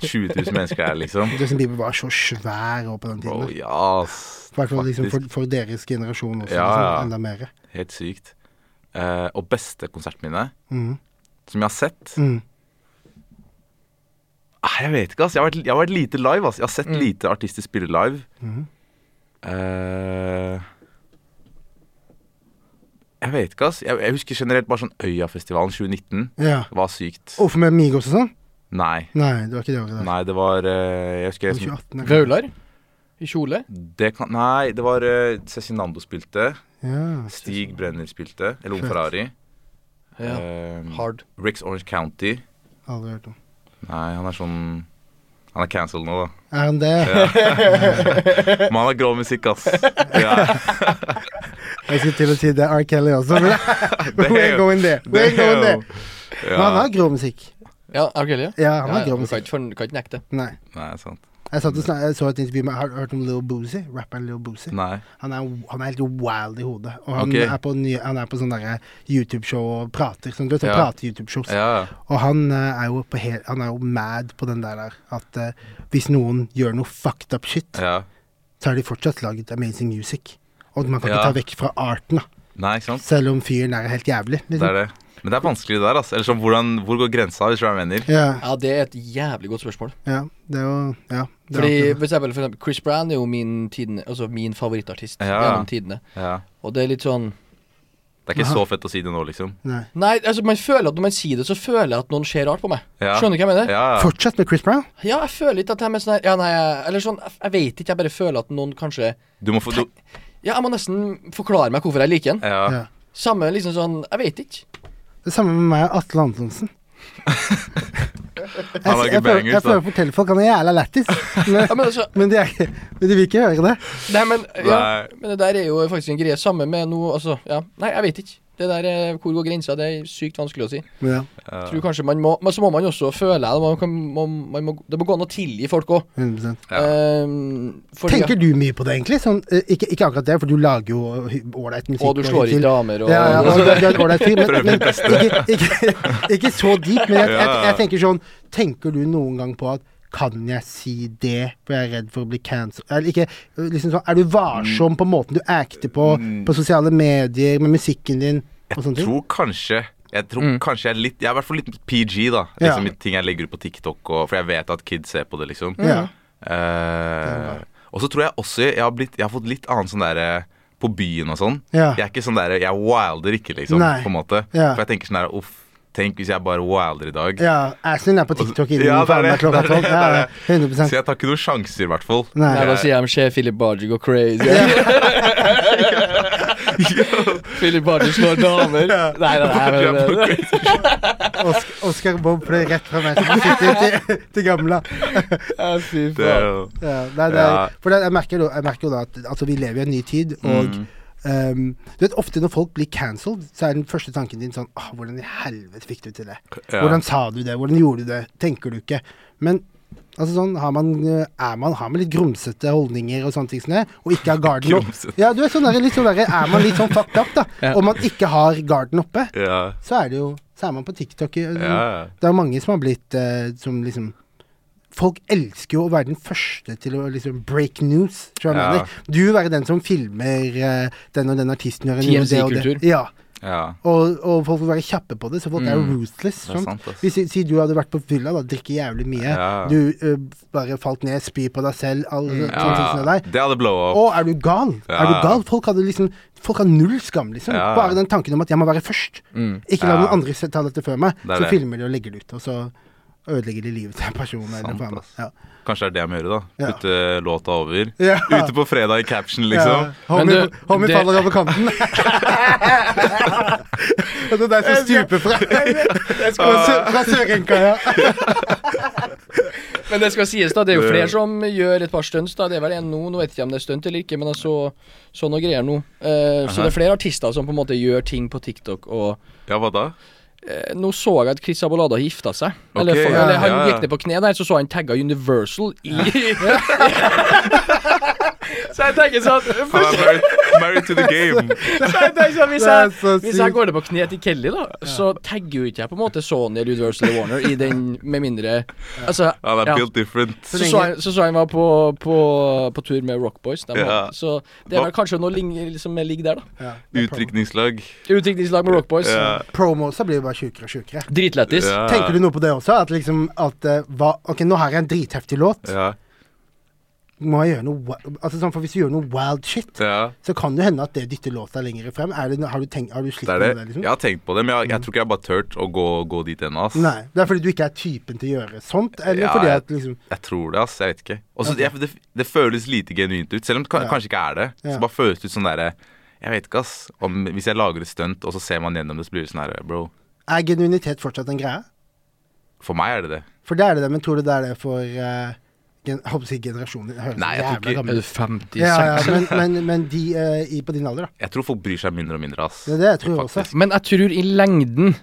20 000 mennesker her, liksom. Eh, Justin Bieber var så svær også på den Bro, tiden. ja, ass. I hvert fall liksom for, Faktisk. for deres generasjon også. Ja, liksom, ja. Enda mer. Helt sykt. Eh, og beste konsertminne Mm. som jeg har sett Mm. ah, Jeg vet ikke, ass. Jeg har vært, jeg har vært lite live, ass. Jeg har sett lite artister spille live. Mhm. Eh, jeg vet ikke, ass. Jeg, jeg husker generelt bare sånn Øyafestivalen 2019. Ja. Det var sykt. Hvorfor med Migos og sånn? Nei. Nei, det var ikke det året der. Nei, det var eh, Jeg husker jeg som- 2018. eller? Raular? I kjole? det kan, Nei, det var uh, Cezinando spilte. Ja. Stig Brenner spilte. Eller Ung Fett. Ferrari. Ja. Eh, Hard. Ricks Orange County. Aldri hørt om. Nei, han er sånn Han er cancelled nå, da. Er han det? Men han har grå musikk, ass. Ja, Jeg skulle til å si det er R. Kelly også. Men we ain't Damn. going there. We ain't going there. Men han Ja. har grå musikk. Ja, er det Ja, han har ja, grå du kan musikk. ikke, forn- du kan ikke nekte. Nei. Nei, sant. Jeg, satt og snak, jeg så et intervju med Har du hørt om Lil Boozy? Rapperen Lil Boozy. Nei. Han er, han er helt wild i hodet. Og han, Ok. er, på ny, han er på sånn derre YouTube-show og prater. Sånn, du vet, sånn Ja. prate-YouTube-shows. Ja. Og han eh, er, jo på hel, han er jo mad på den der der at eh, hvis noen gjør noe fucked up shit, ja. så har de fortsatt laget amazing music. Og man kan Ja. ikke ta vekk fra arten, da. Nei, ikke sant? Selv om fyren er helt jævlig. liksom. Det er det. Men det er vanskelig det der, altså. Eller sånn, hvordan, hvor går grensa, hvis du hva jeg mener? Ja, Ja, det er et jævlig godt spørsmål. ja. Det er jo Ja. Det er Fordi akkurat det. for eksempel, for eksempel Chris Brown er jo min, tidene, altså min favorittartist Ja. gjennom tidene. Ja. Og det er litt sånn Det er ikke så fett å si det nå, liksom. Nei. Nei, altså man føler at når man sier det, så føler jeg at noen ser rart på meg. Ja. Skjønner du hva jeg mener? Ja. Ja, ja. Fortsatt med Chris Brown. jeg føler ikke at de er sånn her Ja, nei, jeg- eller sånn Jeg jeg vet ikke, jeg bare føler at noen kanskje Du må få du, Ja, jeg må nesten forklare meg hvorfor jeg liker den. ja. Ja. Samme liksom sånn Jeg vet ikke. Det samme med meg og Atle Antonsen. Jeg, lager jeg, prøver, bangers, jeg da. prøver å fortelle folk han er jævla lættis, men, Ja, men altså men, de er, ikke- men de vil ikke høre det. Nei, men ja, Nei. Men det der er jo faktisk en greie. Samme med noe Altså, ja. Nei, jeg vet ikke. Det der eh, hvor går grensa, det er sykt vanskelig å si. Men ja, Tror kanskje man må Men så må man jo også føle det. Man kan, man, man må, det må gå an å tilgi folk Ehm, òg. 100 Ja. Tenker du mye på det, egentlig? Sånn, eh, ikke, ikke akkurat det, for du lager jo hy- ålreit musikk. Og du slår ikke hittil- damer og sånn- Ja, ja, og du er en ålreit fyr, men, Prøver men ditt beste. ikke, ikke, ikke så dypt. Men jeg, jeg, Ja. jeg tenker sånn Tenker du noen gang på at kan jeg si det, for jeg er redd for å bli cancelled? Eller ikke eh, liksom sånn, Er du Mm. varsom på måten du acter på på sosiale medier, med musikken din og sånne ting? Tror kanskje jeg tror kanskje jeg er litt Jeg er i hvert fall litt PG, da. Ja. Liksom i Ting jeg legger ut på TikTok, og, for jeg vet at kids ser på det, liksom. Ja. Eh, og så tror jeg også jeg har, blitt, jeg har fått litt annen sånn derre På byen og sånn. Ja. Jeg er ikke sånn derre Jeg wilder ikke, liksom. Nei. På en måte. Ja. For jeg tenker sånn der Uff, tenk hvis jeg bare wilder i dag. Ja, assen din er på TikTok innen Ja, det er faen meg det, klokka det er tolv. det, Ja, ja, Så 100 jeg tar ikke noen sjanser, i hvert fall. Nei. Nei, da sier de Se Philip Barger går crazy. Philip Barger slår damer. Nei, nei, nei, Jeg nei, er nei. på crazy. Osk- Oscar Bob fløy rett fra meg som sitter til, til gamla. Ja, Fy Det er faen. jo- Ja, nei, det er, Ja. For det, jeg, merker jo, jeg merker jo da at altså, vi lever i en ny tid, og Mm. ehm, du vet, ofte når folk blir cancelled, så er den første tanken din sånn Åh, hvordan i helvete fikk du til det? Ja. Hvordan sa du det? Hvordan gjorde du det? Tenker du ikke? Men altså sånn, har man, eh, er man, har man litt grumsete holdninger og sånne ting som det, og ikke har garden oppe Grumsete. Ja, du er sånn der, litt sånn der, er man litt sånn fucked up, da, Ja. og man ikke har garden oppe, Ja. så er det jo Så er man på TikTok. i- Ja. Det er mange som har blitt eh, som liksom Folk elsker jo å være den første til å liksom break news. Tror jeg Ja. mener. Du vil være den som filmer eh, den og den artisten gjør en gjør det og det. TMZ-kultur. Ja. ja. Og, og folk vil være kjappe på det, så folk er jo ruthless. Mm. Det er Sant? sant, ass. Hvis si du hadde vært på fylla, da, drikke jævlig mye, Ja. Mm. du eh, bare falt ned, spy på deg selv, alle sånne ting som det ja. der. Det hadde blow up. Å, er du gal? Ja. Er du gal? Folk hadde liksom Folk har null skam, liksom. Ja. Mm. Bare den tanken om at jeg må være først. Ikke la Ja. noen andre se- ta dette før meg. Det er så det. filmer de og legger det ut, og så ødelegger de livet til en person. Eller Sant, faen. ass. Ja. Kanskje det er det jeg må gjøre, da. Ja. Putte låta over. Ja. Ute på fredag i caption, liksom. Ja. Homie, Men du, homie det- faller over kanten. og det er deg som stuper fra, fra, sø- fra Sørenkaia. Men det skal sies, da. Det er jo flere som gjør et par stunts. da Det er vel en nå. Nå vet jeg ikke om det er stunt eller ikke, men jeg så, så noe greier nå. Eh, så det er flere artister som på en måte gjør ting på TikTok og Ja, hva da? Eh, Nå så jeg at Chris Abolada gifta seg. Eller, Ok, for, ja, eller han ja, ja. gikk ned på kne der, så så han tagga Universal i Så jeg tenker sånn Han er married, married to the game. så jeg tenker sånn, Hvis Det er jeg, så hvis jeg sykt. går ned på kne til Kelly, da, så tagger jo ikke jeg på en måte Sony eller Universal eller Warner i den, med mindre Altså, Han er ja. built different. Så så, jeg, så så jeg var på, på, på tur med Rock Boys. De Ja. var- Så det er vel kanskje noe lign- som ligger der, da. Ja, det er promo. Utdrikningslag. Utdrikningslag med Rock Boys. Ja. Promoser blir bare tjukere og tjukere. Dritlættis. Ja. Tenker du noe på det også? At liksom at eh, hva, Ok, nå har jeg en dritheftig låt. Ja. Må jeg gjøre noe wi- Altså sånn, for Hvis du gjør noe wild shit, ja. så kan det hende at det dytter låta lenger frem. Er det, har du, tenkt, har du slitt Det med er det. Mm. det, liksom? Jeg har tenkt på det, men jeg, jeg tror ikke jeg bare turt å gå, gå dit ennå. ass. Nei. Det er fordi du ikke er typen til å gjøre sånt, eller Ja, fordi jeg- at liksom Jeg tror det, ass. Jeg vet ikke. Også, jeg, det, det føles lite genuint ut, selv om det ka- Ja. kanskje ikke er det. Ja. Så bare føles det ut sånn derre Jeg vet ikke, ass. Om, hvis jeg lager et stunt, og så ser man gjennom det, så blir det sånn her, bro. Er genuinitet fortsatt en greie? For meg er det det. For det er det det, men tror du det er det for eh, gen, jeg håper å si generasjonen din? Høres Nei, jeg tror jævla ikke- gammel Er ut. du 50? Ja, ja, 60? men, men, men de eh, i, på din alder, da. Jeg tror folk bryr seg mindre og mindre, ass. Det er det jeg tror også. Men jeg tror i lengden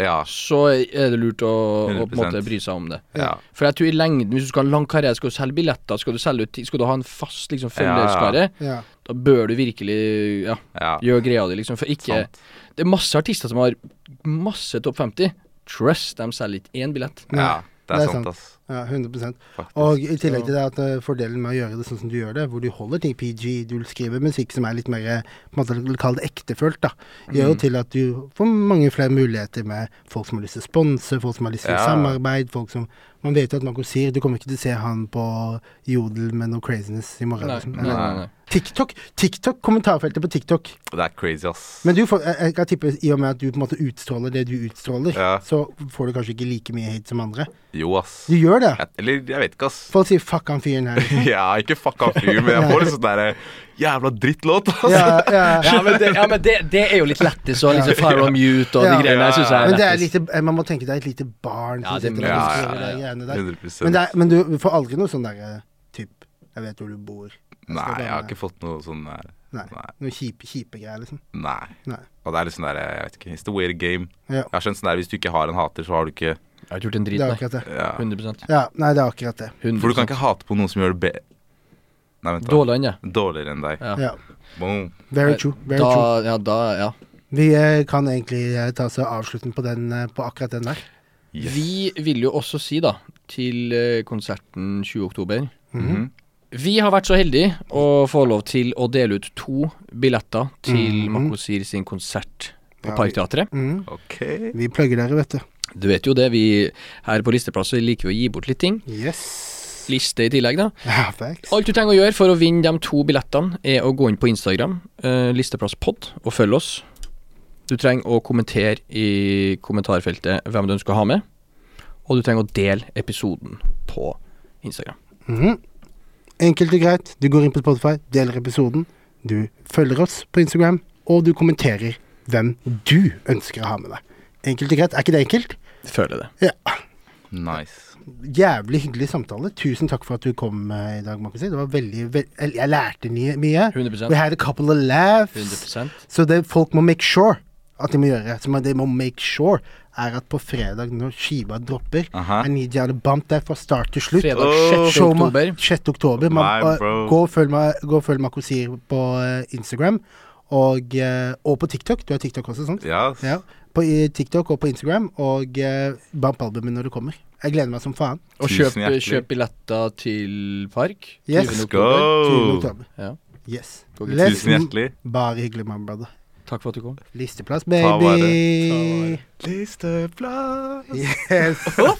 Ja. så er det lurt å, å på 100%. en måte bry seg om det. ja. For jeg tror i lengden, hvis du skal ha en lang karriere, skal du selge billetter, skal du selge ut ting, skal du ha en fast liksom, Ja, ja. følgerskare, Ja. da bør du virkelig ja, ja. gjøre greia di, liksom. For ikke Sant. Det er masse artister som har masse topp 50. Trust, de selger ikke én billett. Nei, Ja. Det er det er sant, sant. ass. ja, 100 Faktisk. Og i tillegg til det at eh, fordelen med å gjøre det sånn som du gjør det, hvor du holder ting PG, du skriver musikk som er litt mer eh, på en måte Kall det ektefølt, da. Mm. Gjør jo til at du får mange flere muligheter med folk som har lyst til å sponse, folk som har lyst til Ja. samarbeid, folk som Man vet jo at Marco sier Du kommer ikke til å se han på Jodel med noe craziness i morgen. Nei, Liksom. nei, nei, nei. TikTok! TikTok, Kommentarfeltet på TikTok. Det er crazy, ass. Men du får, jeg, jeg kan tippe i og med at du på en måte utstråler det du utstråler, Ja. så får du kanskje ikke like mye hate som andre. Jo, ass. Du gjør det. Jeg, eller jeg vet ikke, ass. Folk sier 'fuck han fyren her'. liksom. Ja, ikke fucka fyr, men jeg får litt sånn derre jævla drittlåt, ass. Ja, ja. Ja, men, det, ja, men det, det er jo litt lættis, og liksom Fire on mute og Ja. de greiene der syns jeg Men er det er lættis. lite, eh, man må tenke det er et lite barn Ja, som det sitter må- der og ja, skriver ja, de ja. greiene der. 100 Men, det er, men du får aldri noe sånn derre typ Jeg vet hvor du bor. Jeg Nei, skal jeg bare- har ikke fått noe sånn der. Nei. Nei. Noen kjipe, kjipe greier, liksom. Nei. Nei. Og det er litt sånn der, jeg vet ikke, it's the way the game. Ja. Jeg har skjønt sånn der, hvis du ikke har en hater, så har du ikke Jeg har ikke gjort en Det drit, er nei. akkurat det. ja. 100 Ja, nei, det er akkurat det. 100 For du kan ikke hate på noen som gjør det be... Nei, vent da. Dårligere enn det. Dårligere enn deg. Ja. Ja. Boom. Very true. Very Da, true. ja, da, ja. Vi eh, kan egentlig eh, ta oss og avslutten på, den, eh, på akkurat den der. Yes. Vi vil jo også si, da, til eh, konserten 20. oktober Mhm. Vi har vært så heldige å få lov til å dele ut to billetter til Mhm. Makosir sin konsert Ja, på vi- Parkteatret. Mm. OK. Vi plugger dere, vet du. Du vet jo det, vi her på Listeplasset liker vi å gi bort litt ting. Yes. Liste i tillegg, da. Ja, facts. Alt du trenger å gjøre for å vinne de to billettene, er å gå inn på Instagram, eh, Listeplasspod, og følge oss. Du trenger å kommentere i kommentarfeltet hvem du ønsker å ha med, og du trenger å dele episoden på Instagram. Mhm. Enkelt og greit. Du går inn på Spotify, deler episoden, du følger oss på Instagram, og du kommenterer hvem du ønsker å ha med deg. Enkelt og greit. Er ikke det enkelt? Føler det. Ja. Nice. Jævlig hyggelig samtale. Tusen takk for at du kom eh, i dag, Markus. Det var veldig, ve eller, Jeg lærte nye, mye. 100 We had a couple of laughs. 100 Så det folk må make sure at de må gjøre, som de må make sure, er at på fredag, når skiva dropper Aha. I need you to bump deg fra start til slutt. Fredag Åh. 6. Show meg- oktober. 6. oktober. Man, My og- bro. gå og følg meg- gå og følg Makosir på eh, Instagram og, eh, og på TikTok. Du har TikTok også, sant? Ja. Ja. På i TikTok og på Instagram. Og eh, bump albumet når det kommer. Jeg gleder meg som faen. Og Tusen kjøp, hjertelig. kjøp billetter til park. Yes. 20. Let's oktober. 20. go. oktober. Ja. Yes. Gå, gutt. Let's- Oh. Tusen hjertelig. Bare hyggelig, my brother. Takk for at du kom. Listeplass, Ta vare. baby. Listeblad. Yes.